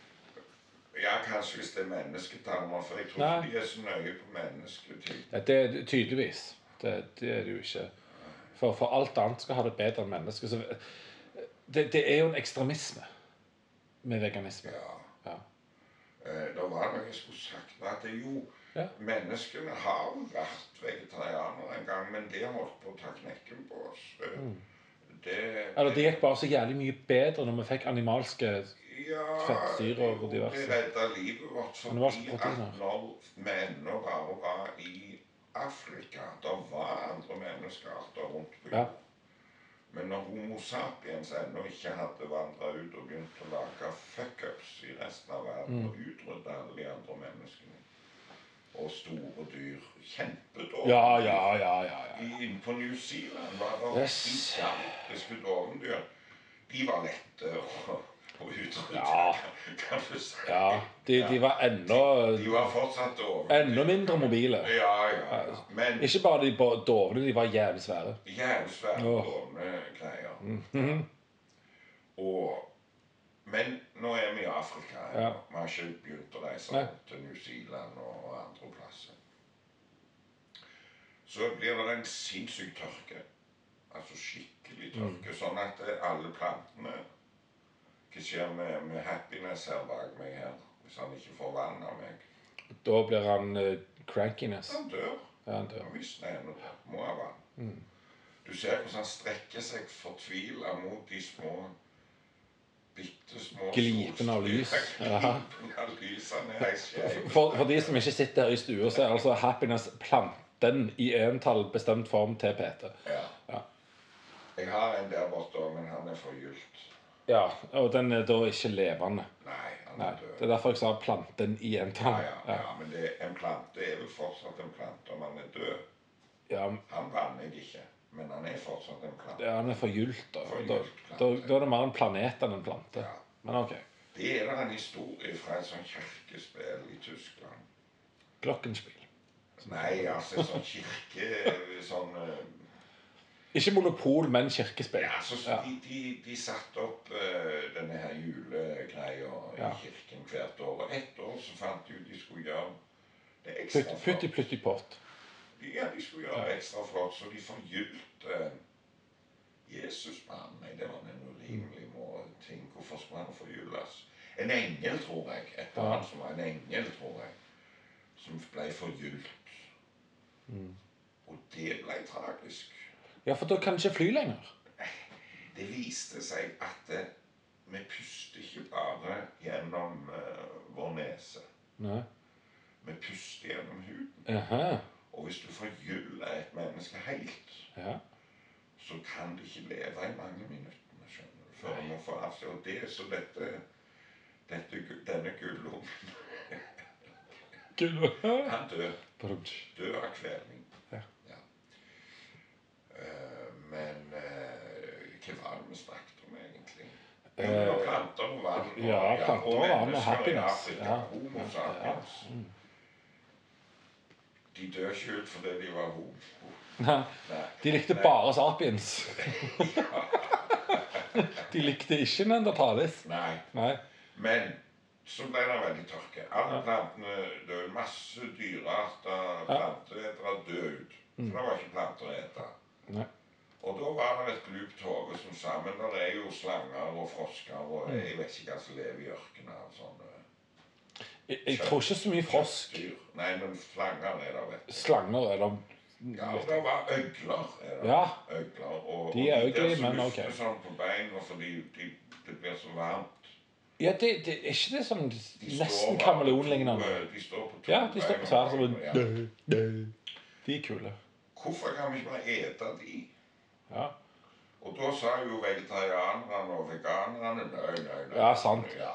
A: Ja, kanskje hvis det er mennesketarmer, for jeg tror
B: Nei.
A: ikke de er så nøye på mennesketid.
B: Ja, Det er tydeligvis. Det, det er det jo ikke. For, for alt annet skal ha det bedre enn mennesket. Så det, det er jo en ekstremisme med veganisme.
A: Ja.
B: Ja.
A: Eh, Det var noe jeg skulle sagt, men at det er jo
B: Ja.
A: Menneskene har jo vært vegetarianere en gang, men det har holdt på å ta knekken på oss. Eh, Det,
B: Mm. Eller det gikk bare så jævlig mye bedre når vi fikk animalske
A: ja,
B: fettsyre og
A: jo,
B: diverse.
A: Det redda livet vårt
B: Men det var
A: fordi
B: ikke
A: at
B: proteiner.
A: når vi ennå bare var i Afrika Det var andre menneskearter rundt på
B: Ja.
A: jord. Men når Homo sapiens ennå ikke hadde vandra ut og begynt å lage fuckups i resten av verden
B: Mm.
A: og utrydde alle de andre menneskene og store dyr Kjempedårlig.
B: Ja, ja, ja. ja, ja.
A: I- Inne på New Zealand var det
B: Yes.
A: gigantiske dovendyr. De var lette å, å utrydde,
B: Ja.
A: kan du si.
B: ja. De, de var enda,
A: De var fortsatt dovendyr.
B: enda mindre mobile.
A: Ja, ja, ja. Men
B: Ikke bare de ba- dovne, de var jævlig svære. Mhm.
A: jævlig svært
B: Åh.
A: dovne greier. Og, men nå er vi i Afrika. ennå.
B: Ja.
A: Vi har ikke begynt å reise
B: Nei.
A: rundt til New Zealand og andre plasser. Så blir det en sinnssyk tørke. Altså skikkelig
B: Mm.
A: tørke. Sånn at eh, alle plantene Hva skjer med, med happiness her bak meg her hvis han ikke får vann av meg?
B: Da blir han eh, crankiness.
A: Han dør.
B: Ja, han dør.
A: Ja visst, nei, nå må jeg være.
B: Mm.
A: Du ser hvordan han strekker seg fortvila mot de små Bitte små
B: Glipen av lys. Ja.
A: Glipen av lys. Han er helt skjev.
B: For, for de som ikke sitter her i stua, så er altså happiness planten i entall bestemt form til Peter.
A: Ja.
B: Ja.
A: Jeg har en der borte, men han er forgylt.
B: Ja, og den er da ikke levende.
A: Nei, han
B: Nei,
A: er
B: Det
A: død.
B: er derfor jeg sa planten i
A: Ja,
B: entall.
A: ja, ja, men det, en plante er vel fortsatt en plante om han er død.
B: Ja,
A: Han vanner jeg ikke, men han er fortsatt en plante.
B: ja, den er forgylt. Da. Da,
A: Forgylt plante.
B: da, da er det mer en planet enn en plante.
A: Ja.
B: Men OK.
A: Det er da en historie fra et sånt kirkespill i Tyskland.
B: Glockenspiel.
A: Nei, altså sånn kirke Sånn eh,
B: Ikke monopol, men kirkespill.
A: Ja, altså, så
B: Ja.
A: De, de, de satte opp eh, denne her julegreia
B: Ja.
A: i kirken hvert år. Og ett år så fant de ut de skulle gjøre det
B: Putt,
A: ekstra
B: putt i
A: flott.
B: plutt i pott.
A: Ja, de skulle gjøre det ekstra flott, så de forgylte eh, Jesus mann. Nei, det var en urimelig
B: Mm.
A: må- ting. Hvorfor skulle han forgylles? En engel, tror jeg. Et
B: Ja.
A: barn som var en engel, tror jeg. Som ble forgylt. Og det ble tragisk.
B: Mm. Ja, for da kan den ikke fly lenger.
A: Det viste seg at eh, vi puster ikke bare gjennom eh, vår nese.
B: Nei.
A: Vi puster gjennom huden.
B: Aha.
A: Og hvis du forgyller et menneske helt,
B: Ja.
A: så kan det ikke leve i mange minuttene, skjønner du. Før man får avskjed. Og det er så dette, dette gu- Denne gullungen
B: Kul.
A: Han dør.
B: Brunch.
A: Dør av kvelning.
B: Ja.
A: Eh, men eh, hva var det vi snakket om, egentlig? Jo, det var planter og vann. og-
B: Eh, ja, planter og vann og
A: mennesker i
B: happiness.
A: Afrika,
B: Ja. Mm.
A: Homo sapiens. De dør ikke ut fordi de var homo.
B: Nei.
A: Nei.
B: De likte
A: Nei.
B: bare sapiens. De likte ikke neandertalis.
A: Nei.
B: Nei.
A: Men så ble det veldig tørke. Alle plantene døde. Masse dyrearter, planteetere døde ut. For det var ikke planter å ete.
B: Mm. Nei.
A: Og da var det et glupt hode som sa Men det er jo slanger og frosker
B: Mm.
A: og jeg vet ikke hva som lever i ørkenen sånn. av sånne
B: Jeg, jeg tror ikke så mye frosk.
A: dyr. Nei, men slanger er det, vet du.
B: Slanger eller
A: Ja, og det var øgler. Er det.
B: Mm. Ja.
A: Øgler. Og,
B: De er
A: og der
B: øgler,
A: som
B: men
A: lufter
B: ok.
A: sånn på beina fordi de, det blir så varmt.
B: ja det, det, er ikke det sånn
A: De står
B: nesten
A: bare på
B: kameleonlignende?
A: to- De står på to
B: Ja, de står
A: bein
B: på
A: og
B: sverd som
A: ja.
B: en De er kule.
A: Hvorfor kan vi ikke bare ete de?
B: Ja.
A: Og da sa jo vegetarianerne og veganerne nei, nei, nei.
B: Ja, sant.
A: Ja,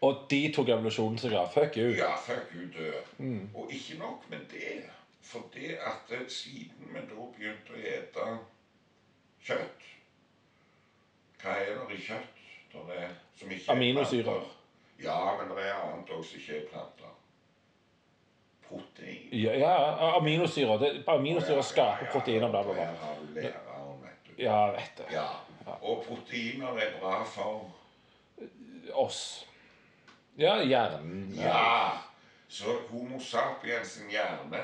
B: Og de tok evolusjonen seg av. Fuck you.
A: ja fuck you, dø.
B: Mm.
A: Og ikke nok med det. For det at eh, siden vi da begynte å ete kjøtt Hva er det i kjøtt der er, som ikke er
B: Aminosyrer.
A: planter? Ja, men det er annet også som ikke er planter. Protein.
B: Ja, ja aminosyrer. Det, aminosyrer skaper proteiner, bla, bla, bla.
A: Her har du lære om, vet du.
B: Ja, jeg vet det.
A: Ja. Og proteiner er bra for
B: Oss. Ja, hjernen.
A: Ja! Så Homo sapiens sin hjerne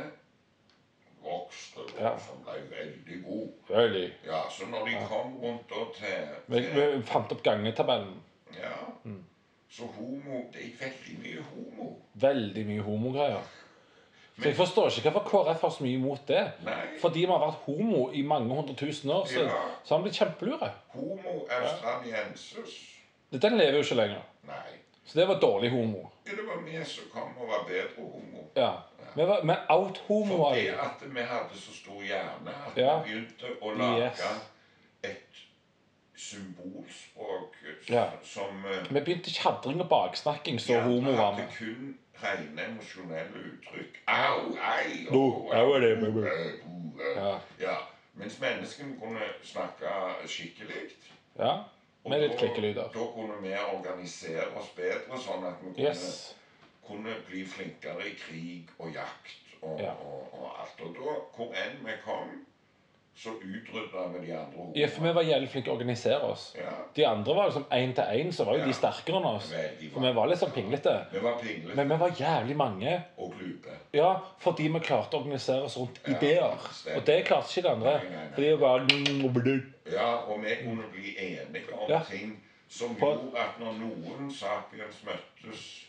A: vokste og
B: Ja.
A: som ble veldig god.
B: Really.
A: Ja, så når de kom rundt da til,
B: Vi, vi
A: til
B: fant opp gangetabellen.
A: Ja.
B: Mm.
A: Så homo Det er veldig mye homo.
B: Veldig mye homogreier. Så jeg forstår ikke hvorfor KrF har så mye imot det.
A: Nei.
B: Fordi vi har vært homo i mange hundre tusen år, så,
A: Ja.
B: så har vi blitt kjempelure.
A: Homo australiensis.
B: Den lever jo ikke lenger.
A: Nei.
B: Så det var dårlig homo.
A: Ja, Det var vi som kom og var bedre homo.
B: Ja. Vi var vi out-homoer.
A: Fordi at vi hadde så stor hjerne at
B: Ja.
A: vi begynte å lage
B: Yes.
A: et symbolspråk s-
B: Ja.
A: som eh,
B: Vi begynte kjadring og baksnakking, så
A: gjerne
B: homo var vi.
A: hadde kun rene emosjonelle uttrykk. Au, ei,
B: Du,
A: au,
B: au, er det,
A: au,
B: baby.
A: au, au.
B: Ja.
A: Ja. Mens menneskene kunne snakke skikkelig.
B: ja.
A: og
B: Med litt
A: da-
B: klikkelyder.
A: Da kunne vi organisere oss bedre, sånn at vi kunne
B: Yes.
A: kunne bli flinkere i krig og jakt og,
B: Ja.
A: og, og alt. Og da, hvor enn vi kom, så utrydda vi de andre
B: Ja, for vi var jævlig flinke til å organisere oss.
A: Ja,
B: De andre var liksom én til én, så var jo
A: Ja.
B: de sterkere enn oss.
A: veldig
B: For vi var litt sånn pinglete.
A: Vi var pinglete
B: Men vi var jævlig mange.
A: og glupe.
B: Ja, fordi vi klarte å organisere oss rundt
A: Ja,
B: ideer.
A: stemmer.
B: Og det klarte ikke de andre.
A: Nei, nei, nei.
B: For de var bare
A: Ja, og vi kunne bli enige om
B: Ja.
A: ting som
B: For-
A: gjorde at når noen sapiens møttes,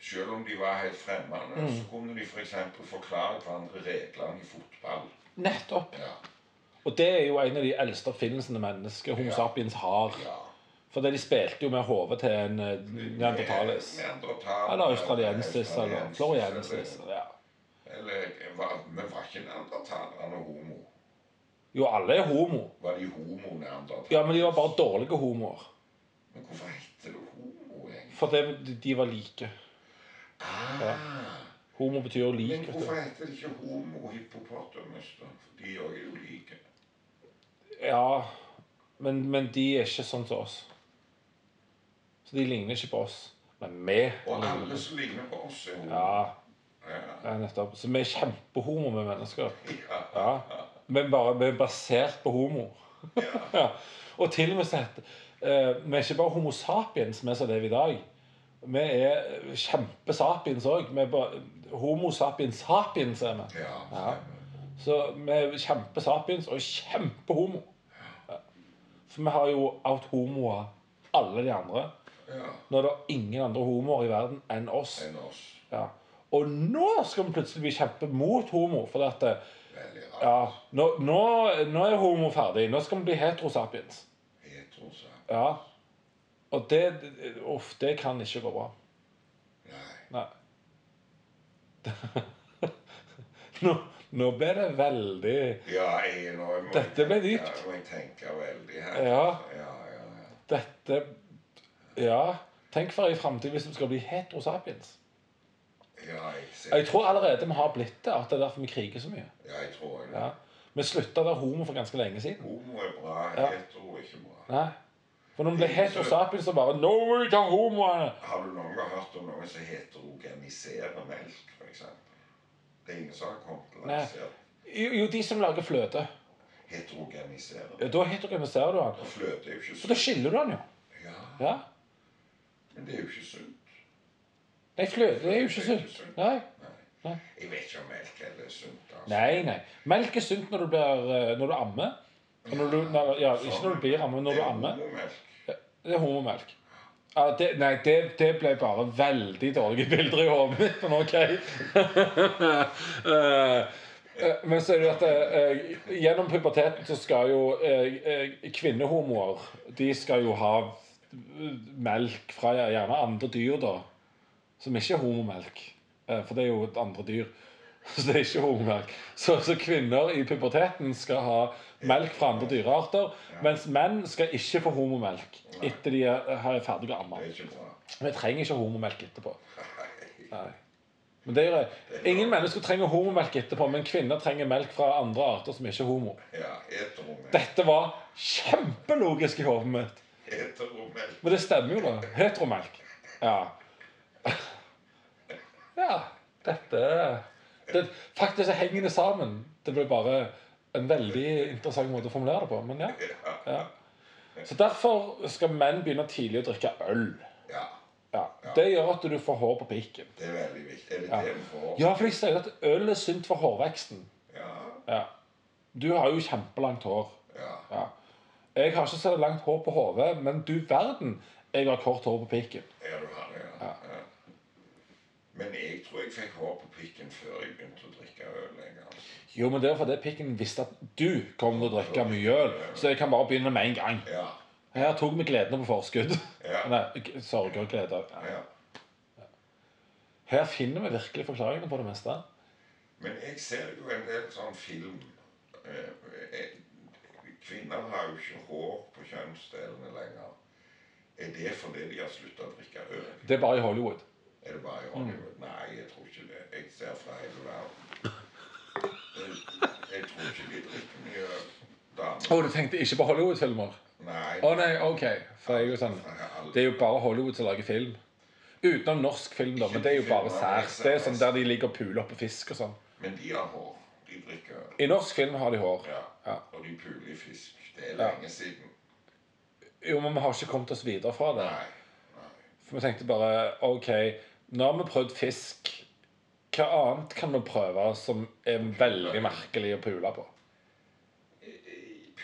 A: selv om de var helt fremmede,
B: Mm.
A: så kunne de f.eks. for forklare hverandre reglene i fotball.
B: Nettopp.
A: Ja,
B: Og det er jo en av de eldste oppfinnelsene mennesket Homo
A: Ja.
B: sapiens har.
A: ja.
B: For de spilte jo med hodet til en eh, neandertalis.
A: Eh, Neandertaler,
B: Eller australiensis, eller
A: australiensis,
B: floriensis. Ja.
A: eh, Eller var, men var ikke neandertalerne homo?
B: Jo, alle er homo.
A: Var de homo-neandertalere?
B: Ja, men de var bare dårlige homoer.
A: Men hvorfor heter det homo, egentlig?
B: For det, de var like.
A: Ah,
B: Homo betyr jo
A: Men
B: lik. vet
A: hvorfor
B: du.
A: heter det ikke homo-hippopotamus, da? For de òg er jo like.
B: Ja, men, men de er ikke sånn som oss. Så de ligner ikke på oss. Men vi
A: Og alle som ligner på oss, er homo.
B: Ja,
A: Ja.
B: ja, nettopp. Så vi er kjempehomo med mennesker.
A: Ja.
B: Ja. Men bare vi er basert på homo. ja. Og til og med så heter eh, Vi er ikke bare Homo sapiens, vi som lever i dag. Vi er kjempesapiens òg. Vi er bare Homo sapiens sapiens er vi.
A: ja.
B: Ja. Så vi er kjempesapiens og kjempehomo. Ja. For vi har jo out-homoer, alle de andre.
A: ja.
B: Nå er det ingen andre homoer i verden enn oss.
A: Enn oss.
B: Ja. Og nå skal vi plutselig bli kjempemot homo. Fordi at eh,
A: Veldig rart.
B: ja, nå, nå, nå er homo ferdig. Nå skal vi bli heterosapiens.
A: Heterosapiens.
B: Ja. Og det Uff, det kan ikke gå bra.
A: Nei.
B: Nei. nå, nå ble det veldig
A: Ja, jeg, nå må jeg
B: Dette ble
A: tenke-
B: dypt.
A: Nå må jeg tenke veldig her.
B: Ja.
A: Ja, ja, ja.
B: Dette Ja. Tenk for ei framtid hvis vi skal bli heterosapiens.
A: Ja, jeg ser.
B: Jeg tror allerede vi har blitt det. At det er derfor vi kriger så mye.
A: Ja, jeg tror det.
B: Ja. Vi slutta å være homo for ganske lenge siden.
A: Homo er bra,
B: Ja.
A: hetero er ikke bra.
B: Nei. For når vi ble heterosapiens, så bare Nå må vi ta homoene!
A: Har du noen gang hørt om noen som heterogeniserer melk, f.eks.? Det er ingen som har kommet lansert
B: Jo, jo, de som lager fløte.
A: heterogeniserer.
B: Ja, Da heterogeniserer du han.
A: Og fløte er jo ikke
B: For da
A: sunt.
B: skiller du han jo.
A: Ja,
B: Ja.
A: men det er jo ikke sunt.
B: Nei, fløte er jo ikke sunt. Nei.
A: Nei.
B: Nei.
A: Jeg vet ikke om melk heller er sunt. altså.
B: Nei, nei. Melk er sunt når du, blir, eh, når du ammer. Og når du, når, ja, ikke når du blir ammer, men når du ammer.
A: Det
B: Det
A: er homomelk.
B: er homomelk. Ja, det, nei, det, det ble bare veldig dårlige bilder i hodet mitt, men OK. Eh, eh, men så er det jo at eh, gjennom puberteten så skal jo eh, eh, kvinnehomoer De skal jo ha eh, melk fra gjerne andre dyr, da. Som ikke er homomelk. Eh, for det er jo et andre dyr. Så det er ikke homomelk. Så, så kvinner i puberteten skal ha melk fra andre dyrearter. Mens menn skal ikke få homomelk etter de er, er ferdige å amme.
A: Det er ikke bra.
B: Vi trenger ikke homomelk etterpå. Nei. Men det gjør jeg. Ingen mennesker trenger homomelk etterpå, men kvinner trenger melk fra andre arter som ikke er homo.
A: Ja, heteromelk.
B: Dette var kjempelogisk i hodet mitt.
A: Heteromelk.
B: Men det stemmer jo, da. Heteromelk. Ja. Ja. Dette det, Faktisk så henger det sammen. Det ble bare en veldig interessant måte å formulere det på. Men ja.
A: Ja.
B: ja. Så derfor skal menn begynne tidlig å drikke øl.
A: ja.
B: Ja. Det gjør at du får hår på pikken.
A: Det er veldig viktig. Er det
B: Ja.
A: det vi får?
B: Ja, for de sier at øl er sunt for hårveksten.
A: Ja.
B: Ja. Du har jo kjempelangt hår.
A: ja.
B: Ja. Jeg har ikke så langt hår på hodet, men du verden, jeg har kort hår på pikken.
A: Ja, du har det, ja. ja. Men jeg tror jeg fikk hår på pikken før jeg begynte å drikke øl. Jeg, altså.
B: Jo, men det er fordi pikken visste at du kom til å drikke mye øl, så jeg kan bare begynne med en gang.
A: Ja.
B: Her tok vi gledene på forskudd.
A: Ja.
B: Nei, g- sorger og gleder.
A: ja.
B: Her finner vi virkelig forklaringene på det meste.
A: Men jeg ser jo en del sånn film eh, eh, Kvinner har jo ikke hår på kjønnsdelene lenger. Er det fordi de har slutta å drikke øl?
B: Det er bare i Hollywood.
A: Er det bare i Hollywood?
B: Mm.
A: Nei, jeg tror ikke det. Jeg ser fra hele verden. Jeg, jeg tror ikke de drikker mye øl,
B: Å,
A: damer.
B: du tenkte ikke på Hollywood-filmer?
A: Nei.
B: Å nei, ok. For jeg er jo sånn Det er jo bare Hollywood som lager film. Utenom norsk film, da. Men det er jo bare særs. Det er sånn der de ligger og puler oppe fisk og sånn.
A: Men de har hår. De drikker øl.
B: I norsk film har de hår.
A: Ja.
B: Ja.
A: Og de puler i fisk. Det er lenge siden.
B: Jo, men vi har ikke kommet oss videre fra det.
A: Nei. Nei.
B: For vi tenkte bare OK, nå har vi prøvd fisk. Hva annet kan vi prøve som er veldig merkelig å pule på?
A: Eh,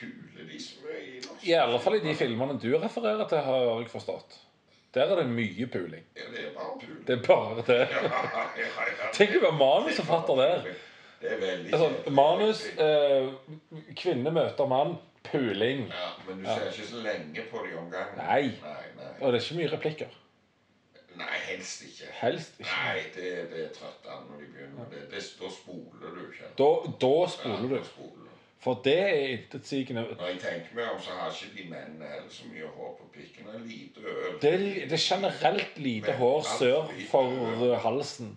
A: Puler de så mye i norsk?
B: I alle fall i de filmene du refererer til, har jeg forstått. Der er det mye puling.
A: Ja, det er bare pul.
B: Det er bare det.
A: ja, ja, ja.
B: Tenk å være manusforfatter der.
A: Det er veldig
B: Sånn,
A: kjedelig.
B: manus, eh, kvinne møter mann, puling.
A: Ja, men du ser ikke så lenge på de om gangen.
B: Nei.
A: Nei, nei.
B: Og det er ikke mye replikker.
A: nei helst ikke.
B: Helst ikke.
A: Nei, det, det er trøtt av når de begynner med det. det. Da spoler du, kjenner
B: Da, da
A: Ja,
B: spoler
A: da
B: du.
A: spoler du.
B: For det er intetsigende.
A: Når jeg tenker meg om, så har ikke de mennene heller så mye hår på pikken. Det er lite øl.
B: Det er, det er generelt lite hår sør for eh, halsen.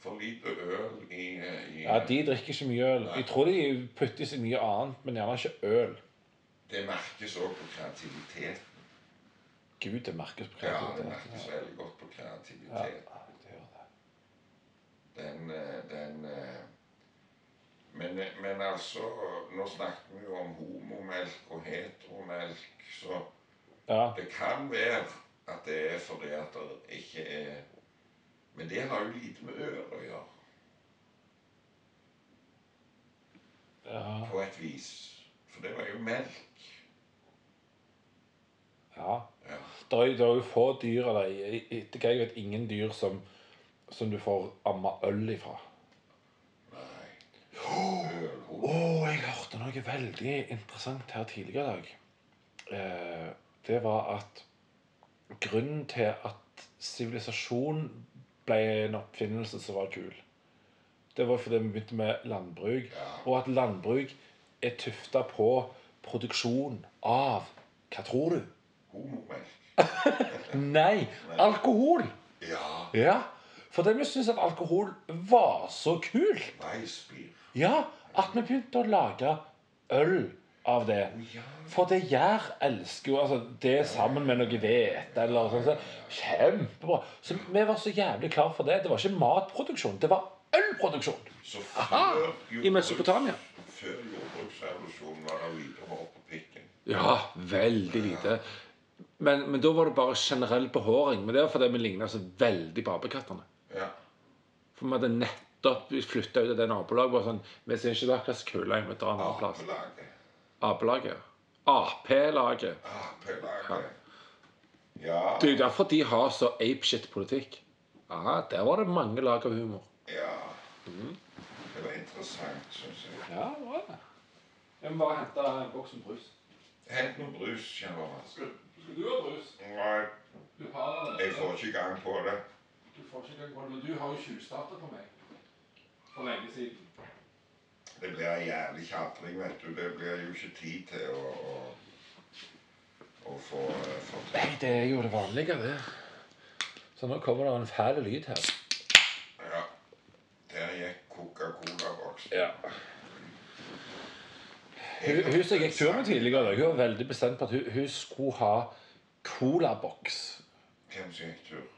A: For lite øl i, i
B: Ja, De drikker ikke mye øl. Jeg tror de putter i seg mye annet, men gjerne ikke øl.
A: Det merkes òg på kreativitet.
B: Gud, det merkes på
A: Ja, det
B: kreativitet.
A: merkes veldig godt på kreativitet.
B: Ja, det gjør det.
A: Den, eh, den eh, men, men altså Nå snakket vi jo om homomelk og heteromelk, så
B: Ja,
A: det kan være at det er fordi at det ikke er Men det har jo lite med øret å gjøre,
B: ja,
A: på et vis. For det var jo melk.
B: ja.
A: Ja.
B: Det er, det er jo få dyr eller, i- i- Etter hva jeg vet, ingen dyr som, som du får amma øl ifra.
A: Nei.
B: Å,
A: Ølhund.
B: jeg hørte noe veldig interessant her tidligere i dag. Eh, det var at grunnen til at sivilisasjon ble en oppfinnelse som var kul, det var fordi vi begynte med landbruk,
A: Ja.
B: og at landbruk er tufta på produksjon av Hva tror du?
A: Homomelk.
B: Nei, alkohol!
A: Ja.
B: Ja, for det vi syntes at alkohol var så kult.
A: Weissbier.
B: Ja, at vi begynte å lage øl av det.
A: Ja.
B: For det gjær elsker jo altså, det sammen med noe hvete eller sånn. sånn. Kjempebra. Så vi var så jævlig klar for det. Det var ikke matproduksjon, det var ølproduksjon.
A: Så
B: Aha,
A: før
B: i Mesopotamia.
A: jordbruks- Før jordbruksrevolusjonen var det lite hår på pikken.
B: Ja, veldig lite. Men, men da var det bare generell behåring. Men det var fordi vi ligna så veldig på apekattene.
A: Ja.
B: For vi hadde nettopp flytta ut av det nabolaget. bare Sånn, vi ser ikke der hva slags kule vi drar en annen plass.
A: Apelaget.
B: Ah. Apelaget. Ap-laget.
A: Apelaget. Ah, Ja.
B: Det er jo derfor de har så apeshit politikk. Ja, der var det mange lag av humor.
A: ja. Det var interessant, syns jeg.
B: Ja, det var det. Jeg må bare hente en boks med brus.
A: Hent noe brus, kjenner jeg.
B: Skal du ha brus?
A: Nei,
B: Du har
A: jeg får ikke gang på det.
B: Du får ikke engang Men du har jo tjuvstarta på meg for lenge siden.
A: Det blir en jævlig kjatring, vet du. Det blir jo ikke tid til å, å, å få, eh, få til.
B: Nei, det er jo det vanlige, det. Så nå kommer det en fæl lyd her.
A: Ja. Der gikk Coca-Cola-boksen.
B: Ja. Hun, hun som jeg gikk tur med tidligere, i dag, hun var veldig bestemt på at hun, hun skulle ha colaboks.
A: Hvem som gikk tur?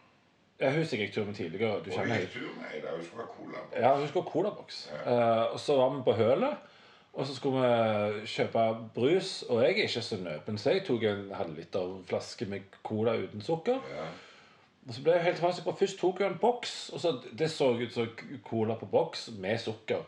B: Ja, hun som jeg gikk tur med tidligere. Du
A: Og
B: kjenner henne.
A: gikk tur med ei der hun skulle ha cola.
B: Ja, hun skulle ha colaboks. Eh, og så var vi på hølet, og så skulle vi kjøpe brus. Og jeg er ikke så nøpen, så jeg tok en halvliterflaske med cola uten sukker.
A: Ja.
B: Og så ble jeg helt tilbake på Først tok hun en boks, og så det så ut som cola på boks med sukker.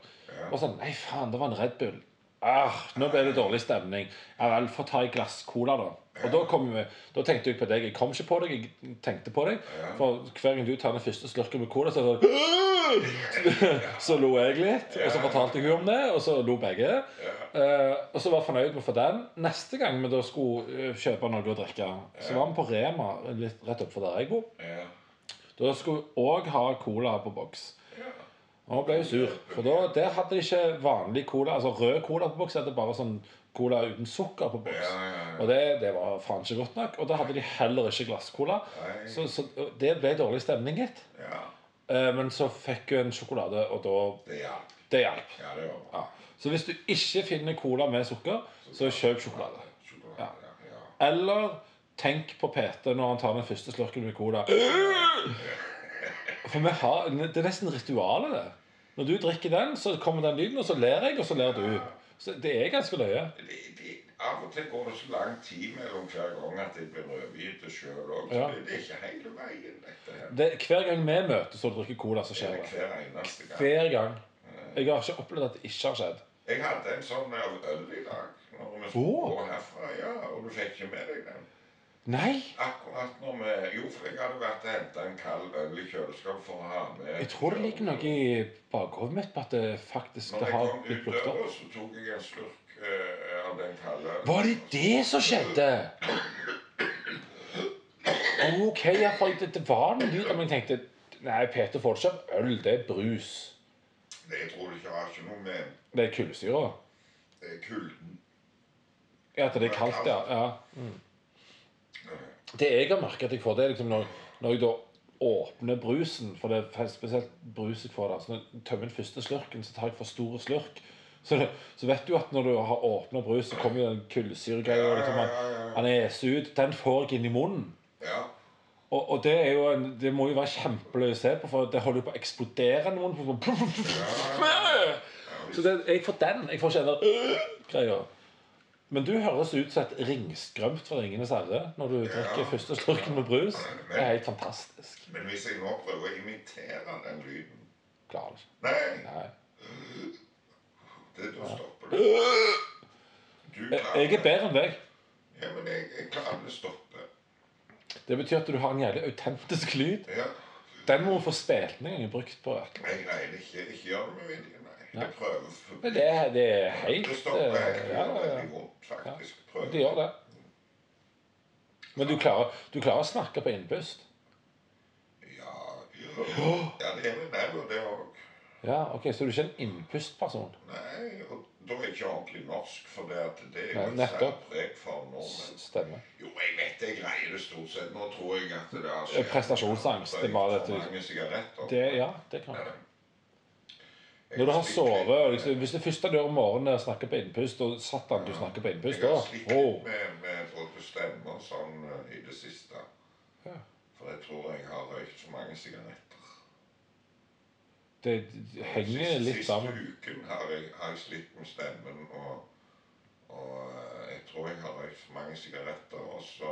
B: Og sånn Nei, faen, det var en Red Bull. Ah, nå ble det dårlig stemning. Ja vel, få ta et glass cola, da. Og da, kom, vi- da tenkte jeg på deg. Jeg kom ikke på deg, jeg tenkte på deg. For hver gang du tar den første slurken med cola, så er det sånn Så lo jeg litt, og så fortalte jeg hun om det, og så lo begge. Eh, og så var jeg fornøyd med å få den. Neste gang vi da skulle eh, kjøpe noe å drikke, så var vi på Rema litt rett oppfor der jeg bor.
A: Ja.
B: Da skulle vi òg ha cola på boks. Og hun ble jo sur. For da, der hadde de ikke vanlig cola. Altså rød cola på boks. de Hadde bare sånn cola uten sukker på boks.
A: Ja, ja, ja.
B: Og det, det var faen ikke godt nok. Og da hadde de heller ikke glasscola.
A: Nei.
B: Så, så det ble dårlig stemning, gitt.
A: ja.
B: Eh, Men så fikk hun en sjokolade, og da
A: Det hjalp.
B: Det hjalp.
A: Ja, det gjorde det.
B: Ja. Så hvis du ikke finner cola med sukker, så kjøp sjokolade.
A: Sjokolade. Ja. ja.
B: Eller tenk på PT når han tar den første slurken med cola. For vi har, Det er nesten ritualet, det. Når du drikker den, så kommer den lyden, og så ler jeg, og så ler du. Så Det er ganske løye.
A: de, de, av og til går det så lang tid mellom hver gang at jeg blir rødhvit sjøl òg.
B: Ja.
A: Det er ikke hele veien, dette her.
B: Det, hver gang vi møtes og drikker cola, så
A: Det
B: skjer
A: er
B: det.
A: hver eneste gang.
B: Hver gang. Jeg har ikke opplevd at det ikke har skjedd.
A: Jeg hadde en sånn av øl i dag når vi skulle
B: Åh.
A: gå herfra. ja, Og du fikk ikke med deg den.
B: Nei!
A: Akkurat når vi Jo, for jeg hadde vært og henta en kald øl i kjøleskapet for å ha med
B: Jeg tror det ligger noe i bakhodet mitt på at det faktisk
A: Når
B: det
A: jeg
B: har
A: kom
B: blitt
A: ut
B: plukket opp.
A: døra, så tok jeg en slurk eh, av den kalde ølen.
B: Var det det som skjedde? Ok, ja, for det, det var noe lyd, men jeg tenkte Nei, Peter får ikke av øl, det er brus.
A: Nei, Jeg tror det ikke har ikke noe med
B: Det er kullsyre.
A: eh, kulden
B: Ja, at det er kaldt, ja. ja. Mm. Det jeg har merket at jeg får, det er liksom når, når jeg da åpner brusen For det er spesielt brus jeg får der. Så når jeg tømmer den første slurken, så tar jeg for stor slurk. Så, det, så vet du at når du har åpna brus, så kommer jo den kullsyregreia. og Liksom, han, han eser ut. Den får jeg inn i munnen.
A: Ja.
B: Og, og det, er jo en, det må jo være kjempeløy å se på, for det holder jo på å eksplodere noen. Så det, jeg får den. Jeg får ikke den der greia. Men du høres ut som et ringstrømt fra Ringenes herre når du drikker første slurken med brus. Det er helt fantastisk.
A: Men hvis jeg nå prøver å imitere den lyden
B: Klarer det ikke.
A: Nei,
B: Nei.
A: det, da stopper det. Du klarer
B: Jeg er bedre enn deg.
A: det. Ja, men jeg, jeg klarer det å stoppe.
B: Det betyr at du har en jævlig autentisk lyd.
A: Ja.
B: Den må vi få spilt ned en gang brukt på et eller annet.
A: Jeg greier det ikke. Ikke gjør det med vilje, nei. Jeg prøver.
B: Men det, det er helt
A: Det stopper
B: eh,
A: helt. Det
B: ja,
A: gjør
B: ja, ja.
A: veldig vondt, faktisk.
B: Det
A: Prøver.
B: gjør det. Men du klarer, du klarer å snakke på innpust?
A: Ja, ja. ja det er med den og det òg.
B: Ja, ok, Så du er ikke en innpustperson?
A: Nei, og da er jeg ikke ordentlig norsk, for det, at det er jo
B: Nei,
A: et
B: nettopp.
A: særpreg for
B: S-
A: nordmenn.
B: Stemmer.
A: Jo, jeg vet jeg greier det stort sett. Nå tror jeg at det er
B: Eh, prestasjonsangst, det er bare dette.
A: For mange sigaretter.
B: Det, ja, det kan
A: Ja.
B: jeg.
A: Jeg
B: Når du har
A: slitt
B: sovet
A: litt-
B: og liksom, Hvis det første du gjør om morgenen, er å snakke på innpust, og satan, du snakker på innpust da
A: Jeg har slitt
B: Wow.
A: litt med, med både stemme og sånn eh, i det siste.
B: Ja.
A: For jeg tror jeg har røykt så mange sigaretter.
B: Det henger litt sammen.
A: Siste uken har jeg, har jeg slitt med stemmen, og, og eh, jeg tror jeg har røykt for mange sigaretter. Og, så,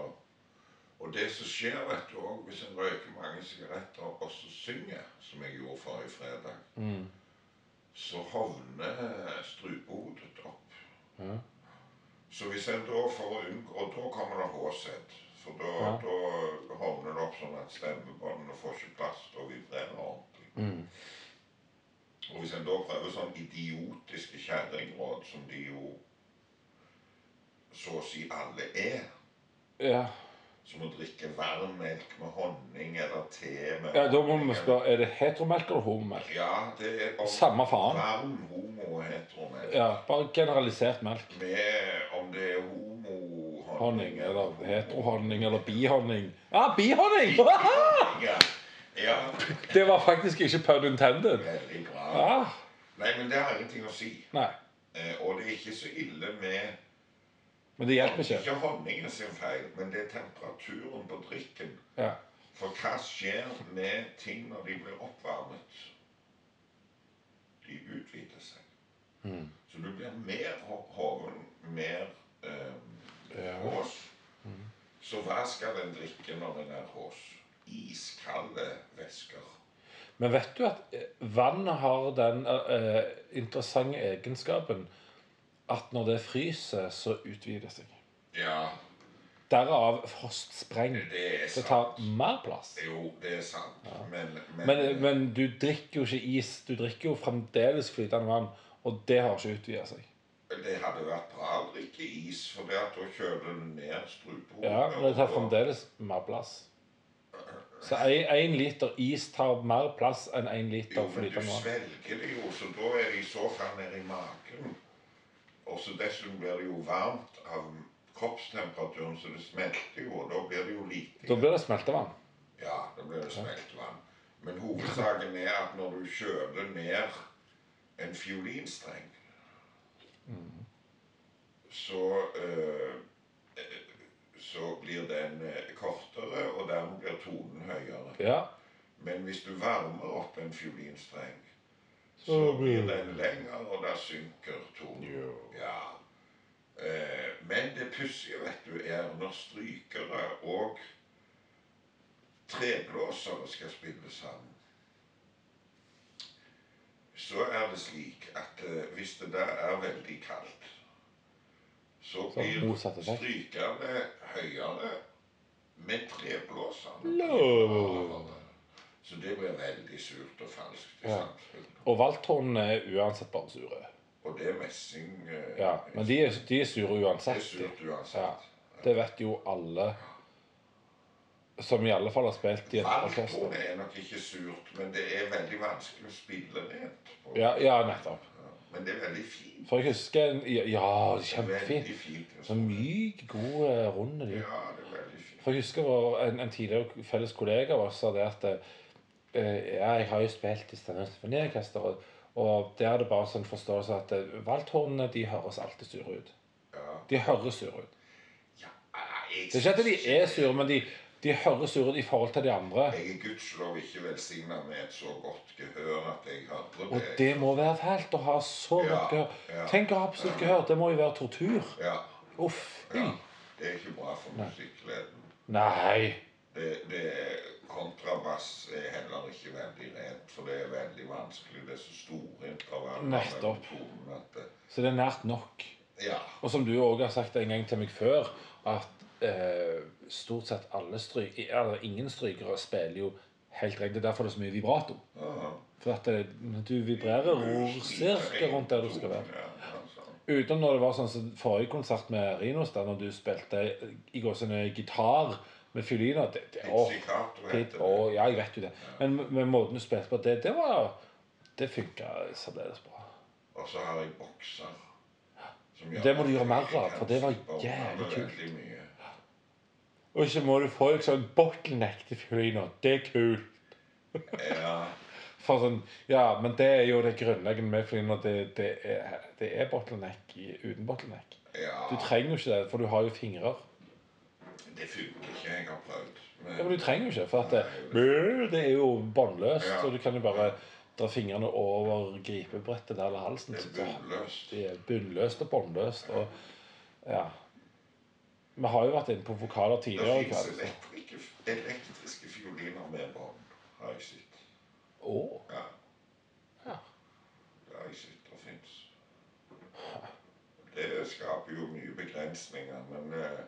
A: og det som skjer, vet du òg, hvis en røyker mange sigaretter og så synger, som jeg gjorde forrige fredag,
B: Mm.
A: så hovner strupehodet opp.
B: Ja.
A: Så hvis en da får unngå Og da kommer det HZ. For da,
B: Ja.
A: da hovner det opp sånn at stemmebåndene får ikke plass til å vibrere ordentlig.
B: Mm.
A: Og hvis en da prøver sånn idiotiske kjerringråd, som de jo så å si alle er,
B: Ja.
A: som å drikke varm melk med honning eller te med
B: ja, Da må
A: honning
B: vi spørre er det heteromelk eller homomelk.
A: Ja, det er om
B: Samme faen.
A: varm homo og heteromelk.
B: Ja, Bare generalisert melk.
A: Med om det er homohonning
B: Honning eller heterohonning eller bihonning. Ja, ah, bihonning!
A: Ja. ja,
B: Det var faktisk ikke pun intended.
A: veldig bra.
B: Ah,
A: Nei, men det har ingenting å si.
B: nei,
A: Eh, og det er ikke så ille med
B: men det hjelper ikke.
A: Ikke honningen sin feil, men det er temperaturen på drikken.
B: Ja.
A: For hva skjer med ting når de blir oppvarmet? De utvider seg.
B: Mm.
A: Så du blir mer ho- hoven, mer eh,
B: Ja. Mm.
A: hås. Så hva skal en drikke når en er hås? iskalde væsker.
B: Men vet du at eh, vann har den eh, interessante egenskapen at når det fryser, så utvider det seg.
A: Ja,
B: Derav frostspreng.
A: det er
B: Det
A: sant.
B: tar mer plass.
A: Jo, det er sant. Men, men,
B: Men, eh, men du drikker jo ikke is. Du drikker jo fremdeles flytende vann. Og det har ikke utvida seg.
A: det hadde vært bra å drikke is, for det at da kjøler du ned strupehodet.
B: Ja, Men det tar
A: og-
B: fremdeles mer plass. Så én liter is tar mer plass enn én
A: Jo,
B: liter
A: men du
B: flytende vann.
A: svelger det jo, så da er det i så fall nede i magen. Og så dessuten blir det jo varmt av kroppstemperaturen, så det smelter jo, og da blir det jo lite.
B: Da blir det smeltevann.
A: Ja, da blir det smeltvann. Men hovedsaken er at når du kjøler ned en fiolinstreng, så eh, eh, så blir den eh, kortere, og dermed blir tonen høyere.
B: Ja.
A: Men hvis du varmer opp en fiolinstreng, så
B: Så
A: blir
B: blir-
A: den lengre, og da synker tonen. Ja. Eh, men det pussige, vet du, er når strykere og treblåsere skal spille sammen, så er det slik at eh, hvis det der er veldig kaldt, så
B: Så
A: blir
B: motsatt effekt.
A: strykerne høyere, men treblåserne blir
B: Lå.
A: lavere. Så det blir veldig surt og falskt i
B: Ja.
A: samspill.
B: Og valthornene er uansett bare sure.
A: Og det er messing eh,
B: Ja, Men de er, de er sure
A: Det er
B: uansett. de.
A: surt uansett.
B: Det vet jo alle som i alle fall har spilt i et orkester.
A: Valthorn er nok ikke surt, men det er veldig vanskelig å spille rent på.
B: Ja, ja nettopp.
A: Men det er veldig fint.
B: For jeg husker en- Ja, kjempefint.
A: Veldig fint.
B: Så myk, god eh, rund lyd.
A: Ja, det er veldig fint.
B: For jeg husker vår, en, en tidligere felles kollega av oss sa det at eh, Ja, jeg har jo spilt i Stavanger Symfoniorkester, og, og der er det bare sånn forståelse at eh, valthornene de høres alltid sure ut.
A: Ja.
B: De høres sure ut.
A: Ja, jeg,
B: Det er ikke at de er sure, men de, de høres sure ut i forhold til de andre.
A: Jeg er gudskjelov ikke velsigna med et så godt gehør at jeg hører
B: Og det må være fælt å ha så
A: Ja,
B: godt gehør.
A: ja.
B: Tenk å ha absolutt gehør. Det må jo være tortur.
A: Ja,
B: Uff.
A: ja.
B: Ja.
A: Det er ikke bra for musikkgleden.
B: Nei.
A: Det, det kontrabass er heller ikke veldig rent, for det er veldig vanskelig. Det er så store intervaller mellom
B: Nettopp.
A: tonene at det,
B: Så det er nært nok.
A: Ja.
B: Og som du òg har sagt en gang til meg før, at eh, stort sett alle stryk, eller ingen strykere spiller jo helt rent. Det er derfor det er så mye vibrato.
A: aha.
B: For at det, du vibrerer rorcirka rundt der du skal være.
A: Ja, altså.
B: Utenom når det var sånn som forrige konsert med Rinos, der når du spilte i går sånn gitar med fioliner det, det, åh,
A: Pizzicato
B: Pit,
A: heter det.
B: og, ja, jeg vet jo det. Men med måten du spilte på, det, det var Det funka særdeles bra.
A: Og så har jeg bokser. som gjør
B: Det må du
A: at
B: gjøre
A: jeg
B: mer
A: kan
B: av, for det var
A: slippe unna
B: jævlig
A: med
B: kult.
A: veldig mye.
B: Og ikke må du få en sånn bottleneck til fioliner. Det er kult.
A: Ja.
B: For sånn, ja, men det er jo det grunnleggende med fioliner. Det, det, er, det er bottleneck i, uten bottleneck.
A: Ja,
B: Du trenger jo ikke det, for du har jo fingrer.
A: det funker ikke. Jeg har prøvd. Men,
B: Ja, men du trenger jo ikke, for at det, det er jo båndløst.
A: Ja.
B: Så du kan jo bare dra fingrene over gripebrettet der eller halsen.
A: det
B: så
A: er
B: da-
A: bunnløst.
B: Det er bunnløst og båndløst. Og ja Vi har jo vært inne på vokaler
A: Det
B: tidligere. i
A: fins
B: kveld, så-
A: elektriske, elektriske fioliner med bånd, har jeg sett.
B: Å,
A: Ja.
B: Ja.
A: Det har jeg sett og fins. Det skaper jo mye begrensninger, men, eh,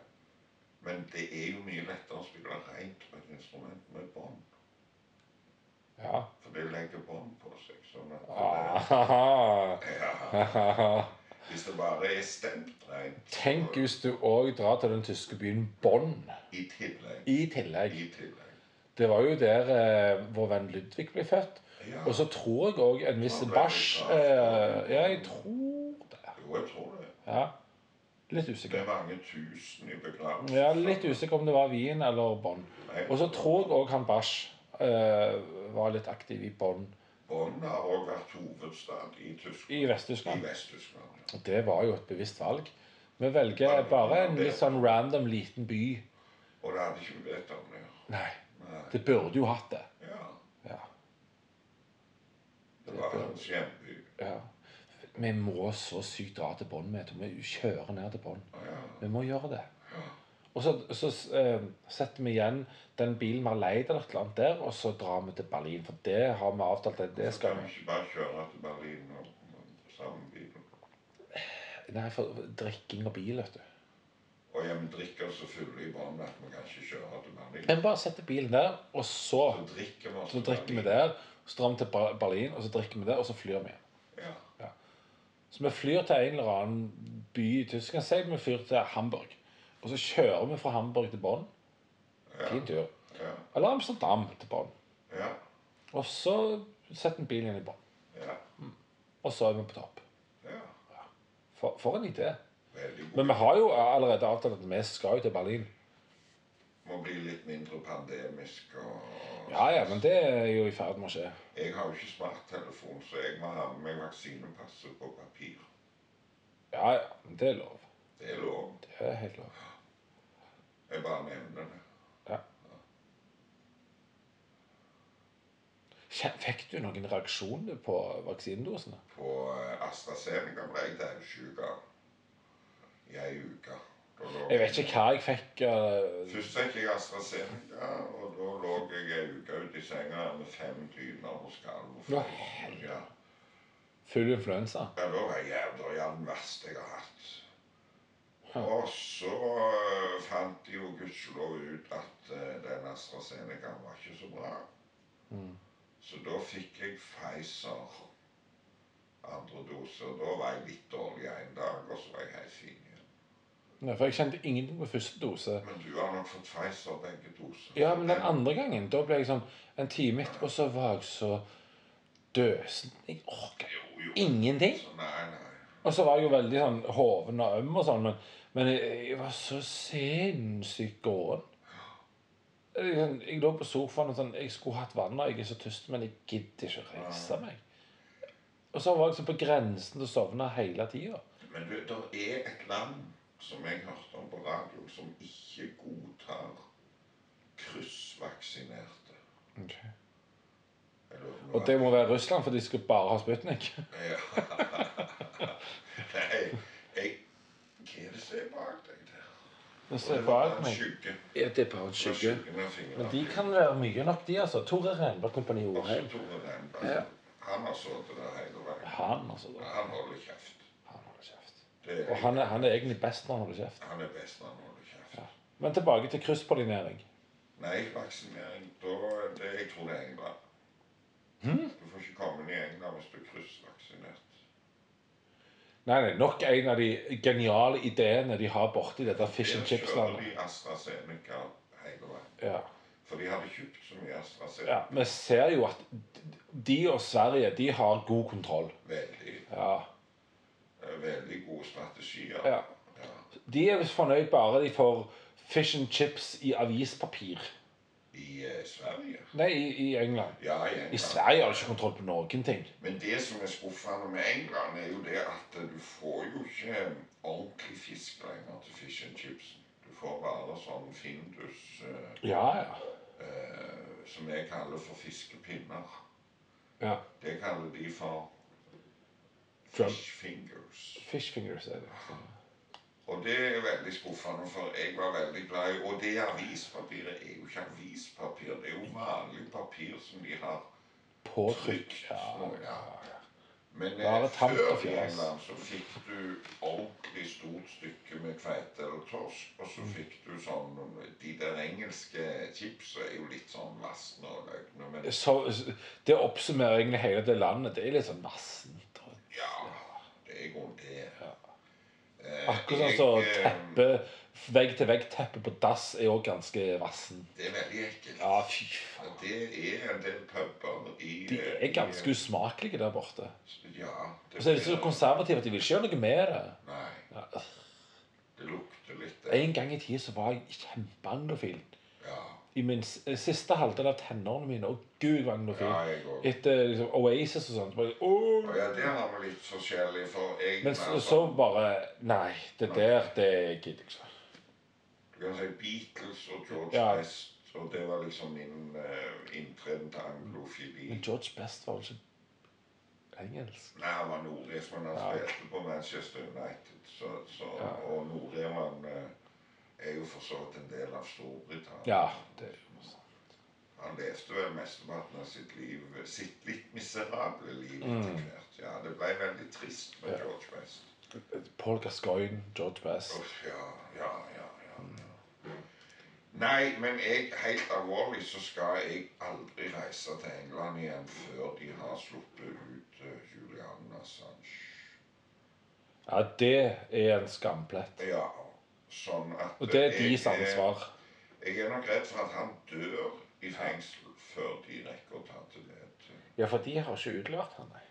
A: men det er jo mye lettere å spille rent på et instrument med bånd.
B: ja.
A: For det legger bånd på seg. sånn at det,
B: Ah,
A: ja,
B: haha.
A: Hvis det bare er stemt rent
B: Tenk
A: så-
B: hvis du òg drar til den tyske byen Bonn
A: I tillegg.
B: i tillegg.
A: I tillegg.
B: Det var jo der eh, vår venn Ludvig ble født.
A: Ja.
B: Og så tror jeg òg en viss
A: Han ble
B: Bach
A: født,
B: eh, Ja, jeg tror det.
A: Jo, jeg tror det.
B: Ja. Litt
A: Det er
B: usikker.
A: mange tusen i begravelsen.
B: Ja, litt usikker om det var Wien eller Bonn. Og så tror jeg òg han Bach eh, var litt aktiv i Bonn
A: Bonn har også vært hovedstad i Tyskland.
B: i
A: I
B: Vest-Tyskland.
A: Vest-Tyskland. ja.
B: Og Det var jo et bevisst valg. Vi velger bare en litt sånn random liten by.
A: Og det hadde ikke vi bedt om det.
B: Nei,
A: Nei.
B: det burde jo hatt det.
A: Ja.
B: Ja.
A: Det var hans hjemby.
B: ja. Vi må så sykt dra til Bonn med. Tom. Vi kjører ned til Bonn.
A: Ja.
B: Vi må gjøre det. Og så, så eh, setter vi igjen den bilen vi har leid eller et eller annet der, og så drar vi til Berlin. For det har vi avtalt at det skal
A: Kan vi
B: vi.
A: ikke bare kjøre til Berlin og, og sammen bilen?
B: Nei, for drikking og bil, vet du.
A: Og jeg drikker så fulle i vann at vi kan ikke kjøre til Berlin.
B: Men bare setter bilen der, og så,
A: Så drikker vi oss
B: så
A: til
B: drikker vi
A: Berlin.
B: der. Så drar vi til Ber- Berlin, og så drikker vi der, og så flyr vi igjen.
A: Ja.
B: Så vi flyr til en eller annen by i Tyskland. Si vi flyr til Hamburg. Og så kjører vi fra Hamburg til Bonn.
A: Ja.
B: Fin tur.
A: Ja.
B: Eller Amsterdam til Bonn.
A: Ja.
B: Og så setter vi bilen igjen i Bonn.
A: ja.
B: Og så er vi på topp.
A: ja.
B: For, for en idé.
A: Veldig god.
B: Men vi har jo allerede avtalt at vi skal jo til Berlin.
A: Må bli litt mindre pandemisk og
B: Ja, ja, men det er jo i ferd med å skje.
A: Jeg har jo ikke smarttelefon, så jeg må ha med meg vaksinepasset på papir.
B: Ja, ja, men det er lov.
A: Det er lov.
B: Det er helt lov.
A: Jeg bare nevner det.
B: Kje- Fikk du noen reaksjoner på vaksinedosene?
A: På eh, AstraZeneca ble jeg daudsjuk av i ei uke. Da lå
B: Jeg vet ikke hva jeg fikk. eh,
A: Først fikk jeg AstraZeneca, og da lå jeg ei uke ute i senga med fem dyner og skalv.
B: Nå,
A: Ja,
B: Full influensa.
A: Ja, da var jeg jævla ja, den verste jeg har hatt.
B: Ja.
A: Og så eh, fant de jo gudskjelov ut at eh, den AstraZenecaen var ikke så bra.
B: Mm.
A: Så da fikk jeg Pfizer andre dose. og Da var jeg litt dårlig en dag, og så var jeg helt fin igjen.
B: Ja, for jeg kjente ingenting med første dose.
A: Men du har nok fått Pfizer begge doser.
B: Ja, men den andre gangen, da ble jeg sånn en time etter, og så var jeg så døsen. Jeg orka
A: Jo, jo.
B: ingenting.
A: Så nei, nei.
B: Og så var jeg jo veldig sånn hoven og øm og sånn, men, men jeg, jeg var så sinnssykt gåen. Jeg, sånn- jeg lå på sofaen og sånn Jeg skulle hatt vann, og jeg er så tyst, men jeg gidder ikke å reise meg. Og så var jeg sånn på grensen til å sovne hele tida.
A: Men du, det er et land som jeg hørte om på radio, som ikke godtar kryssvaksinerte. Jeg lurer på om
B: Og det må være Russland, for de skal bare ha Sputnik.
A: Ja. Nei, jeg Hva er det som er bak deg der?
B: Men så er det bare
A: En
B: meg.
A: skygge.
B: Ja, det er bare en
A: En
B: skygge.
A: skygge med fingrene.
B: Men de kan være mye nok, de, altså. Tore Renberg Kompani
A: Også
B: Orheim.
A: Tore Renberg.
B: Ja.
A: altså. Han har sittet der hele veien.
B: Han, altså. da.
A: Han holder kjeft.
B: Han holder kjeft.
A: Det
B: Og
A: er,
B: han er, han er egentlig best når han holder kjeft.
A: han er best når han holder kjeft.
B: Men tilbake til krysspollinering.
A: Nei, vaksinering da det, Jeg tror det er England.
B: Hm?
A: Du får ikke komme inn i England hvis du er kryssvaksinert.
B: Nei, nei, nok en av de geniale ideene de har borti dette fish and
A: Der kjører
B: chips-landet.
A: de AstraZeneca hele veien.
B: Ja.
A: For de hadde kjøpt så mye AstraZeneca.
B: ja. Vi ser jo at de og Sverige, de har god kontroll.
A: Veldig,
B: Ja.
A: eh, veldig gode strategier.
B: ja. De er visst fornøyd bare de får fish and chips i avispapir.
A: I eh, Sverige.
B: Nei, i, i England.
A: Ja, i England.
B: I Sverige har de ikke kontroll på noen ting.
A: Men det som er skuffende med England, er jo det at eh, du får jo ikke eh, ordentlig fisk lenger til fish and chips. Du får bare sånn Findus, eh,
B: Ja, ja.
A: eh, som jeg kaller for fiskepinner.
B: ja.
A: Det kaller de for
B: Trump.
A: fish fingers.
B: Fish fingers er det.
A: Og det er veldig skuffende, for jeg var veldig glad i Og det avispapiret er jo ikke avispapir, det er jo vanlig papir som de har
B: Påtrykk.
A: trykt.
B: Ja.
A: på, ja. Men
B: Bare
A: eh,
B: tamt
A: før
B: og
A: i
B: fjas.
A: England så fikk du ordentlig stort stykke med kveite eller torsk, og
B: Mm.
A: så fikk du sånn De der engelske chipsa er jo litt sånn vassende og løgne, men
B: Så, det oppsummerer egentlig hele det landet. Det er litt sånn nassent. og-
A: ja Det er i grunnen det. Eh,
B: Akkurat sånn som
A: jeg, eh,
B: teppe, vegg-til-vegg-teppet på dass er òg ganske vassen.
A: Det er veldig ekkelt.
B: Ja, fy faen.
A: Og Det er en del puber i eh,
B: De er ganske usmakelige der borte.
A: Ja.
B: Og så er de så konservative at de vil ikke gjøre noe med det.
A: Nei.
B: Ja, øh.
A: Det lukter litt det.
B: En gang i tida så var jeg kjempeanglofil.
A: Ja.
B: I min s- eh, siste halvdel av tenårene mine. Å, gud, jeg var
A: ja,
B: anglofil.
A: jeg òg.
B: Etter liksom, Oasis og sånt. Bare, åh.
A: Ja, det har vi litt forskjellig for. Jeg
B: Men
A: mer
B: så, så
A: sånn-
B: bare Nei, det der, det gidder jeg ikke.
A: Du kan si Beatles og George
B: Ja.
A: West, og det var liksom min eh, inntreden til anglofili.
B: Men George Best var jo ikke engelsk.
A: Nei, han var nordisk, men han
B: Ja.
A: spilte på Manchester United, så, så,
B: Ja.
A: og nordirland eh, er jo for så vidt en del av Storbritannia.
B: Ja, det er
A: Han levde vel mesteparten av sitt liv sitt litt miserable liv
B: Mm.
A: etter hvert. Ja, det ble veldig trist med George West.
B: Paul Gascoigne, George Best.
A: Uff, ja, ja, ja, ja, ja. Nei, men jeg, helt alvorlig så skal jeg aldri reise til England igjen før de har sluppet ut eh, Julian Assange.
B: Ja, det er en skamplett.
A: Ja, sånn at
B: Og det er
A: eh, jeg
B: deres ansvar.
A: Jeg er nok redd for at han dør i fengsel før de rekker å ta til det.
B: Ja, for de har ikke utlevert han, nei.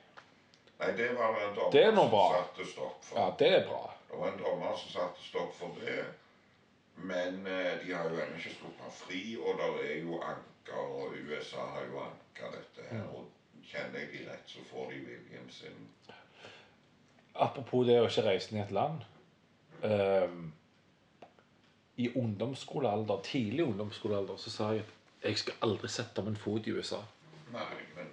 A: Nei, det var en dommer
B: Det er nå
A: som
B: bra.
A: satte stopp for
B: Ja, det er bra.
A: Det var en dommer som satte stopp for det. Men eh, de har jo ennå ikke sluppet han fri, og det er jo anker, og USA har jo anka dette her. Og kjenner jeg de rett, så får de viljen sin.
B: Apropos det å ikke reise ned et land. Ehm, I ungdomsskolealder, tidlig ungdomsskolealder, så sa jeg at jeg skal aldri sette min fot i USA.
A: Nei, men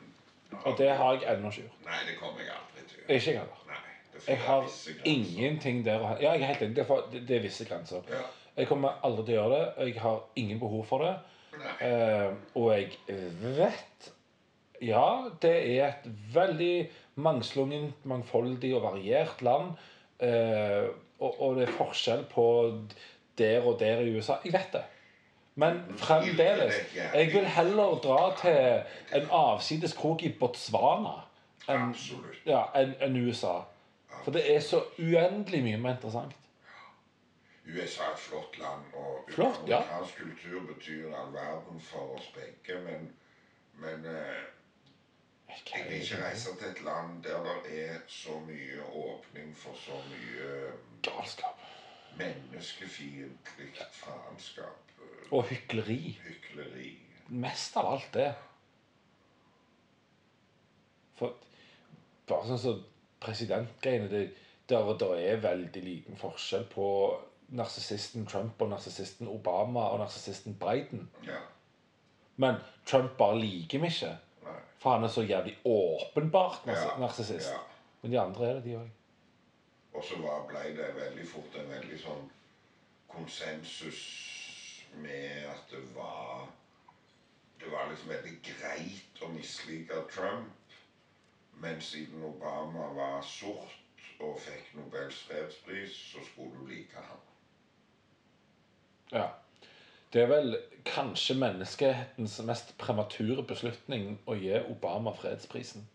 B: Og det har jeg ennå ikke gjort.
A: Nei, det kommer jeg aldri til å gjøre.
B: Ikke jeg heller.
A: Nei. Det får
B: Jeg har
A: visse grenser.
B: ingenting der å ha Ja, jeg er helt enig. Det er, for, det, det er visse grenser.
A: Ja.
B: Jeg kommer aldri til å gjøre det. og Jeg har ingen behov for det.
A: Nei.
B: Eh, og jeg vet Ja, det er et veldig mangslungent, mangfoldig og variert land. Eh, og, og det er forskjell på der og der i USA. Jeg vet det. Men fremdeles Jeg vil heller dra til en avsides krok i Botswana enn
A: Absolutt.
B: ja, enn enn USA. For det er så uendelig mye mer interessant.
A: USA er et flott land, og
B: Flott, ja.
A: amerikansk kultur betyr all verden for oss begge, men, men eh, Jeg vil ikke reise til et land der det er så mye åpning for så mye
B: Galskap.
A: menneskefiendtlig faenskap, øh,
B: Og hykleri.
A: hykleri.
B: Mest av alt det. For bare sånn som presidentgreiene det, der, der er veldig liten forskjell på narsissisten Trump og narsissisten Obama og narsissisten Biden.
A: Ja.
B: Men Trump bare liker vi ikke.
A: Nei.
B: For han er så jævlig åpenbart nars
A: Ja,
B: narsissist.
A: ja.
B: Men de andre er det, de òg.
A: Og så var- ble det veldig fort en veldig sånn konsensus med at det var Det var liksom veldig greit å mislike Trump, men siden Obama var sort og fikk Nobels fredspris, så skulle du like ham.
B: Ja. Det er vel kanskje menneskehetens mest premature beslutning å gi Obama fredsprisen.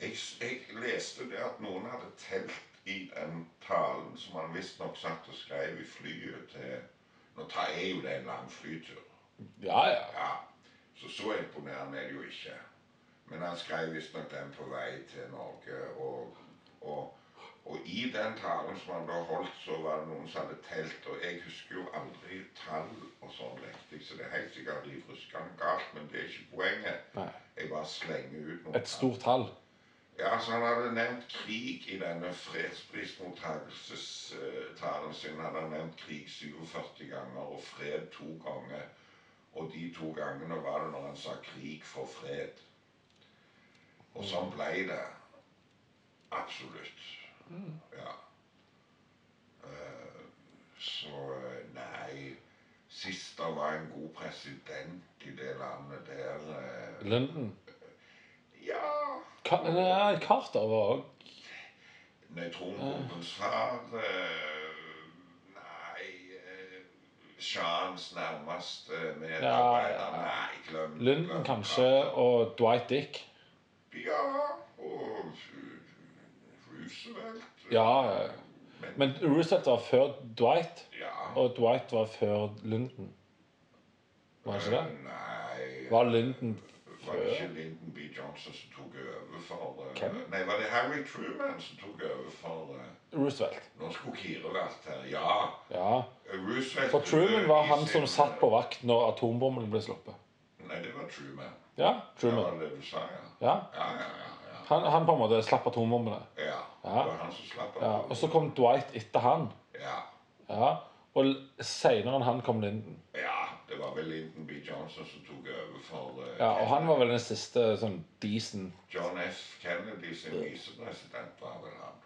A: Jeg, jeg leste det at noen hadde telt i den talen som han visstnok satt og skrev i flyet til Nå tar jeg jo det en lang flytur.
B: Ja, ja.
A: Ja, Så så imponerende er det jo ikke. Men han skrev visstnok den på vei til Norge. Og, og, og i den talen som han da holdt, så var det noen som hadde telt. Og jeg husker jo aldri tall og sånn riktig, så det er helt sikkert liv ruskende galt. Men det er ikke poenget.
B: Nei.
A: Jeg bare slenger ut noen
B: Et stort tall.
A: ja, så Han hadde nevnt krig i denne fredsprismottakelsestalen sin. Han hadde nevnt krig 47 ganger og fred to ganger. Og de to gangene var det når han sa 'krig for fred'. Og sånn ble det. Absolutt. Ja. Eh, Så nei Sist det var en god president i det landet der eh,
B: Lyndon.
A: Ja
B: Ka eh, nei, Carter var òg
A: Neutronbombens far eh, Nei eh, Shahens nærmeste
B: Ja,
A: medarbeider
B: ja, ja.
A: Nei, glem
B: Lyndon
A: glem
B: kanskje, og Dwight Dick.
A: Ja, og eh, Roosevelt
B: Ja, ja. Men Roosevelt var før Dwight,
A: ja.
B: og Dwight var før Lyndon. Var det ikke det?
A: Nei
B: Var Lyndon
A: Var det ikke
B: før?
A: Lyndon B. Johnson som tok over for eh,
B: Hvem?
A: Nei, var det Harry Truman som tok over for eh,
B: Roosevelt.
A: Nå skulle Kire vært her, ja
B: Ja.
A: Roosevelt
B: For Truman var
A: i
B: han
A: sin-
B: som satt på vakt når atombomben ble sluppet.
A: Nei, det var Truman
B: Ja,
A: Det
B: Truman.
A: var det du sa, ja
B: Ja.
A: Ja, ja, ja, ja.
B: Han, han på en måte slapp atombombene.
A: Ja,
B: Ja.
A: Det var han som slapp av.
B: Ja. Og så kom Dwight etter han.
A: ja.
B: Ja. Og seinere enn han kom Lyndon.
A: ja, det var vel Lyndon B. Johnson som tok over for eh,
B: Ja, og han var vel den siste sånn decent
A: John F. Kennedy sin visepresident, var vel han.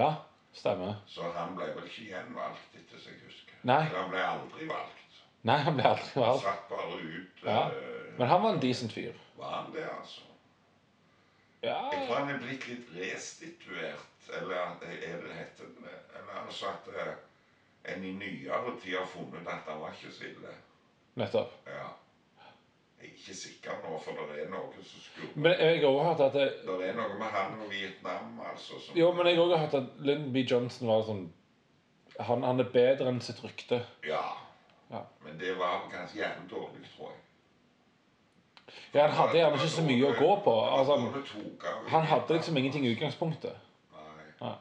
B: Ja. Stemmer.
A: Så han ble vel ikke gjenvalgt, etter som jeg husker.
B: Nei.
A: Eller han ble aldri valgt.
B: Nei, han ble aldri
A: Han
B: valgt.
A: satt bare ut.
B: Ja.
A: eh,
B: Men han var en decent fyr.
A: var han det, altså?
B: Ja,
A: Jeg tror han er blitt litt restituert, eller er det heter det? Eller altså at eh, en i nyere tid har funnet at han var ikke så ille.
B: nettopp.
A: Ja. Jeg er ikke sikker nå, for det er noe som skurrer.
B: Men jeg har også hørt at det,
A: Det er noe med han og Vietnam, altså. Som,
B: Jo, men jeg har også hørt at Lyndon B. Johnson var sånn han, han er bedre enn sitt rykte.
A: Ja.
B: Ja.
A: Men det var ganske jævlig dårlig, tror jeg.
B: Ja, Han hadde gjerne ikke så mye å gå på. Altså, han,
A: Det tok av i
B: han hadde
A: Vietnam,
B: liksom ingenting i
A: altså.
B: utgangspunktet.
A: Nei.
B: Nei.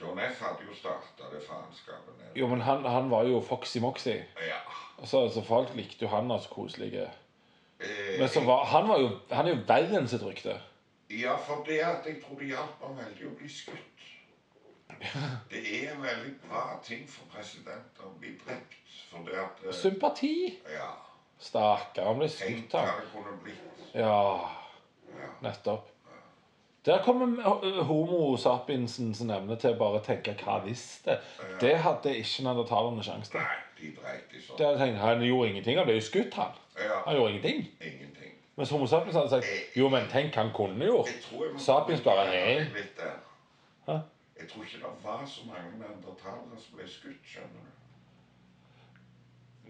A: John F. hadde jo starta det faenskapet der.
B: Jo, men han, han var jo Foxy Moxy.
A: Ja.
B: Og så, så folk likte jo han og så koselige.
A: Eh,
B: Men så var, han, var jo, han er jo verre enn sitt rykte.
A: Ja, for det at jeg tror det hjalp ham veldig å bli skutt. Det er en veldig bra ting for presidenter å bli drept. For det at eh,
B: Sympati!
A: Ja.
B: Stakkar, han ble
A: Tenk
B: skutt,
A: hva
B: han.
A: det kunne blitt.
B: Ja,
A: Ja.
B: nettopp. Der kommer ho- homo sapiensens evne til å bare tenke 'hva hvis det'? Det hadde ikke nandatalerne sjanse til.
A: Nei, de dreit i sånn.
B: Der tenkte jeg, Han gjorde ingenting, han ble jo skutt, han.
A: Ja,
B: Han gjorde ingenting.
A: ingenting.
B: Mens homo sapiens hadde sagt 'jo, men tenk, han kunne jo'.
A: Jeg tror jeg må
B: Sapiens bare, nei.
A: Litt der.
B: Hæ?
A: Jeg tror ikke det var så mange neandertalere som ble skutt, skjønner du.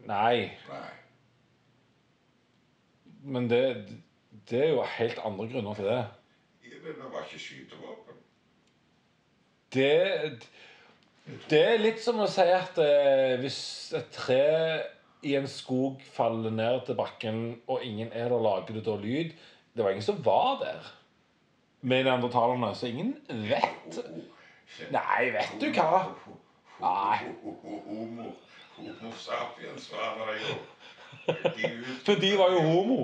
B: Nei,
A: Nei.
B: men det, det er jo helt andre grunner til det.
A: Ja, men Det var ikke skytevåpen.
B: Det Det er litt som å si at eh, hvis et tre i en skog faller ned til bakken, og ingen er der, lager det da lyd? Det var ingen som var der med neandertalerne, så ingen vet. Nei, vet du hva? Nei.
A: Homo, homo sapiens var det jo. De ut-
B: For de var jo homo.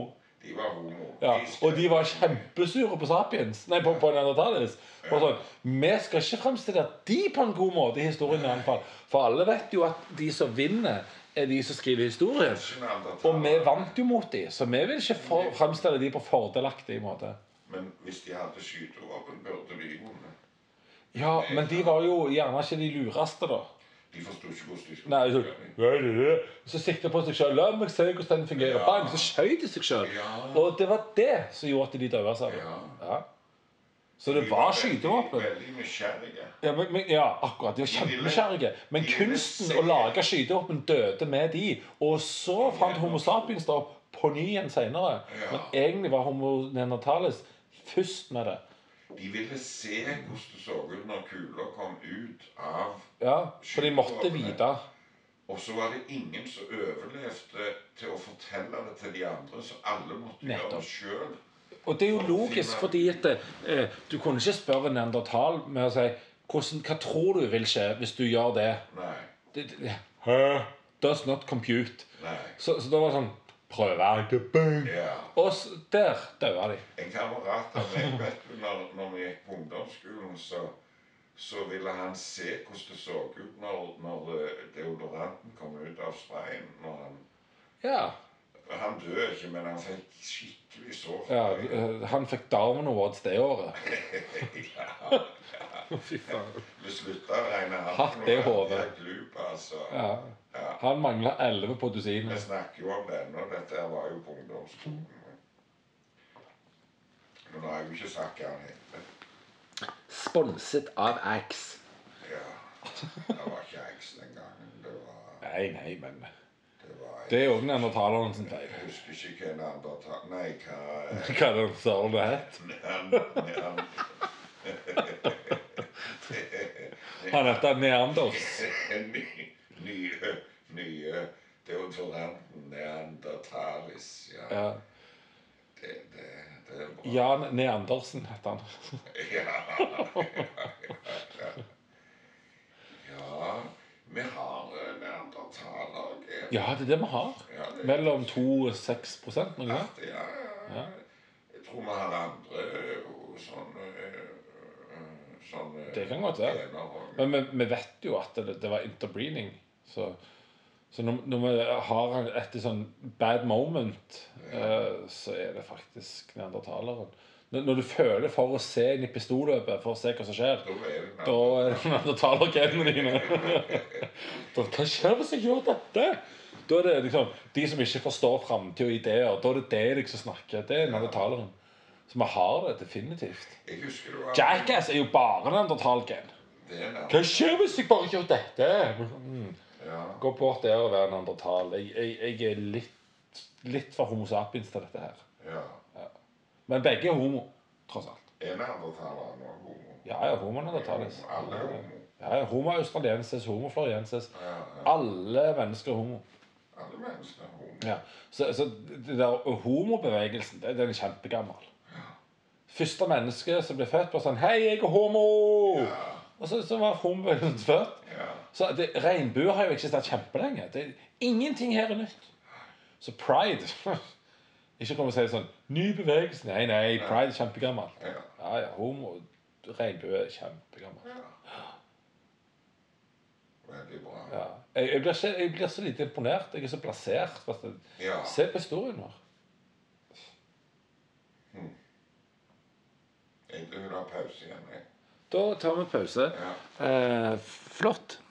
A: De var homo.
B: Ja, og de var
A: skrev-
B: kjempesure på sapiens. Nei, på, på neandertalis. Og sånn, Vi skal ikke fremstille de på en god måte i historien, i alle fall. For alle vet jo at de som vinner, er de som skriver historien. Og vi
A: Neandertalere.
B: vant jo mot dem, så vi vil ikke for, fremstille dem på fordelaktig måte.
A: Men hvis de hadde skytevåpen, burde de vunnet.
B: Ja, men de var jo gjerne ikke de lureste, da.
A: De forsto ikke hvordan de skulle
B: Nei, så,
A: gjøre det.
B: «Hva er det der?» så sikta på seg sjøl. La meg se hvordan den fungerer.
A: Ja.
B: Bang, så skjøt de seg sjøl.
A: Ja.
B: Og det var det som gjorde at de døde sammen.
A: Ja.
B: Ja. Så det
A: De
B: var
A: veldig-
B: skytevåpen.
A: Veldig nysgjerrige.
B: Ja, men, men, ja, akkurat. De var kjempeskjærige. Men
A: ville
B: kunsten
A: se-
B: å lage skytevåpen døde med de. Og så fant Homo sapiens det opp på ny igjen seinere.
A: Ja.
B: Men egentlig var Homo neandertalis først med det.
A: De ville se hvordan det så ut når kula kom ut av
B: Ja, For de måtte vite.
A: Og så var det ingen som overlevde til å fortelle det til de andre, så alle måtte gjøre
B: Nettopp.
A: det sjøl.
B: Og det er jo logisk, fordi at eh, du kunne ikke spørre en neandertal med å si hvordan, Hva tror du vil skje hvis du gjør det?
A: Nei.
B: det, det Hæ? Does not compute.
A: Nei.
B: Så, så da var det sånn Prøve. Bang.
A: Ja.
B: Og s- der daua de.
A: En kamerat av meg, vet du, når, når vi gikk på ungdomsskolen, så, så ville han se hvordan det så ut når, når eh, deodoranten kom ut av sprayen. Når han,
B: Ja.
A: han døde ikke, men han fikk skikkelig sår.
B: Ja, eh, han fikk Darwin Awards det året. Fy faen.
A: Vi slutta å regne han
B: Hatt
A: for
B: det i
A: noe
B: hodet.
A: helt glup, altså.
B: Ja. Han mangla 11 på
A: Vi
B: dusinet.
A: snakker jo om det ennå. Dette her var jo på ungdomsskolen. Men nå har jeg jo ikke sagt hva han heter.
B: Sponset av Ax.
A: Ja. Det var ikke Ax den gangen. Det var,
B: Nei, nei, men
A: det var
B: Det er jo neandertaleren sin feil.
A: Jeg husker ikke hva en andre ta... Nei, hva eh,
B: Hva den søren det het.
A: nean- nean-
B: Han heter Neanders.
A: Ny, nye, nye deodoranten Neandertalis. Ja,
B: Ja.
A: det, det, det er bra.
B: Jan Neandersen heter han.
A: Ja, vi har eh, neandertalere. ok.
B: Ja, det er det vi har.
A: Ja, det er
B: Mellom 2 og 6 prosent, noe sånt.
A: artig, ja, ja. Jeg tror vi har andre eh, og sånne eh, eh, sånne
B: Det kan godt være.
A: gener også.
B: Men vi, vi vet jo at det, det var interbreeding. Så, så når, når vi har en- et sånn bad moment, eh, så er det faktisk neandertaleren. Når, når du føler for å se inn i pistolløpet for å se hva som skjer,
A: Da er det
B: da er det når du tar nok hendene dine. da, hva skjer hvis jeg gjør dette? Da er det liksom De som ikke forstår framtid og ideer, da er det det jeg liksom snakker. Det er neandertaleren. Så vi har det definitivt.
A: Jeg husker det var
B: Jackass er jo bare neandertalgen.
A: Det er nærmest.
B: Hva skjer hvis jeg bare gjør dette? Mm.
A: Ja.
B: Gå bort der og være neandertal. Jeg, jeg, jeg er litt, litt for homo sapiens til dette her.
A: ja.
B: Men begge er homo, tross alt.
A: Er neandertaleren òg homo?
B: Ja, ja, homo neandertalis.
A: Alle er homo.
B: Ja, ja, homo australiensis, homo floriensis.
A: Ja, ja.
B: Alle mennesker er homo.
A: Alle mennesker er homo.
B: Ja. Så, så det der homobevegelsen, det- den er kjempegammel. Første menneske som ble født, var sånn Hei, jeg er homo!
A: Ja.
B: Og så, så var homobevegelsen født.
A: Ja.
B: Så det, regnbuer har jo eksistert kjempelenge. Det, ingenting her er nytt. Så pride Ikke kom og si sånn Ny bevegelse. Nei, nei, pride er kjempegammelt.
A: Ja.
B: Ja, ja, homo Regnbue er kjempegammelt.
A: ja. Veldig bra.
B: Ja. Jeg, jeg, blir ikke, jeg blir så lite imponert. Jeg er så plassert. fast jeg-
A: Ja.
B: Se på historien vår.
A: Jeg vil ha pause igjen, jeg.
B: Da tar vi pause. Eh,
A: Ja.
B: flott.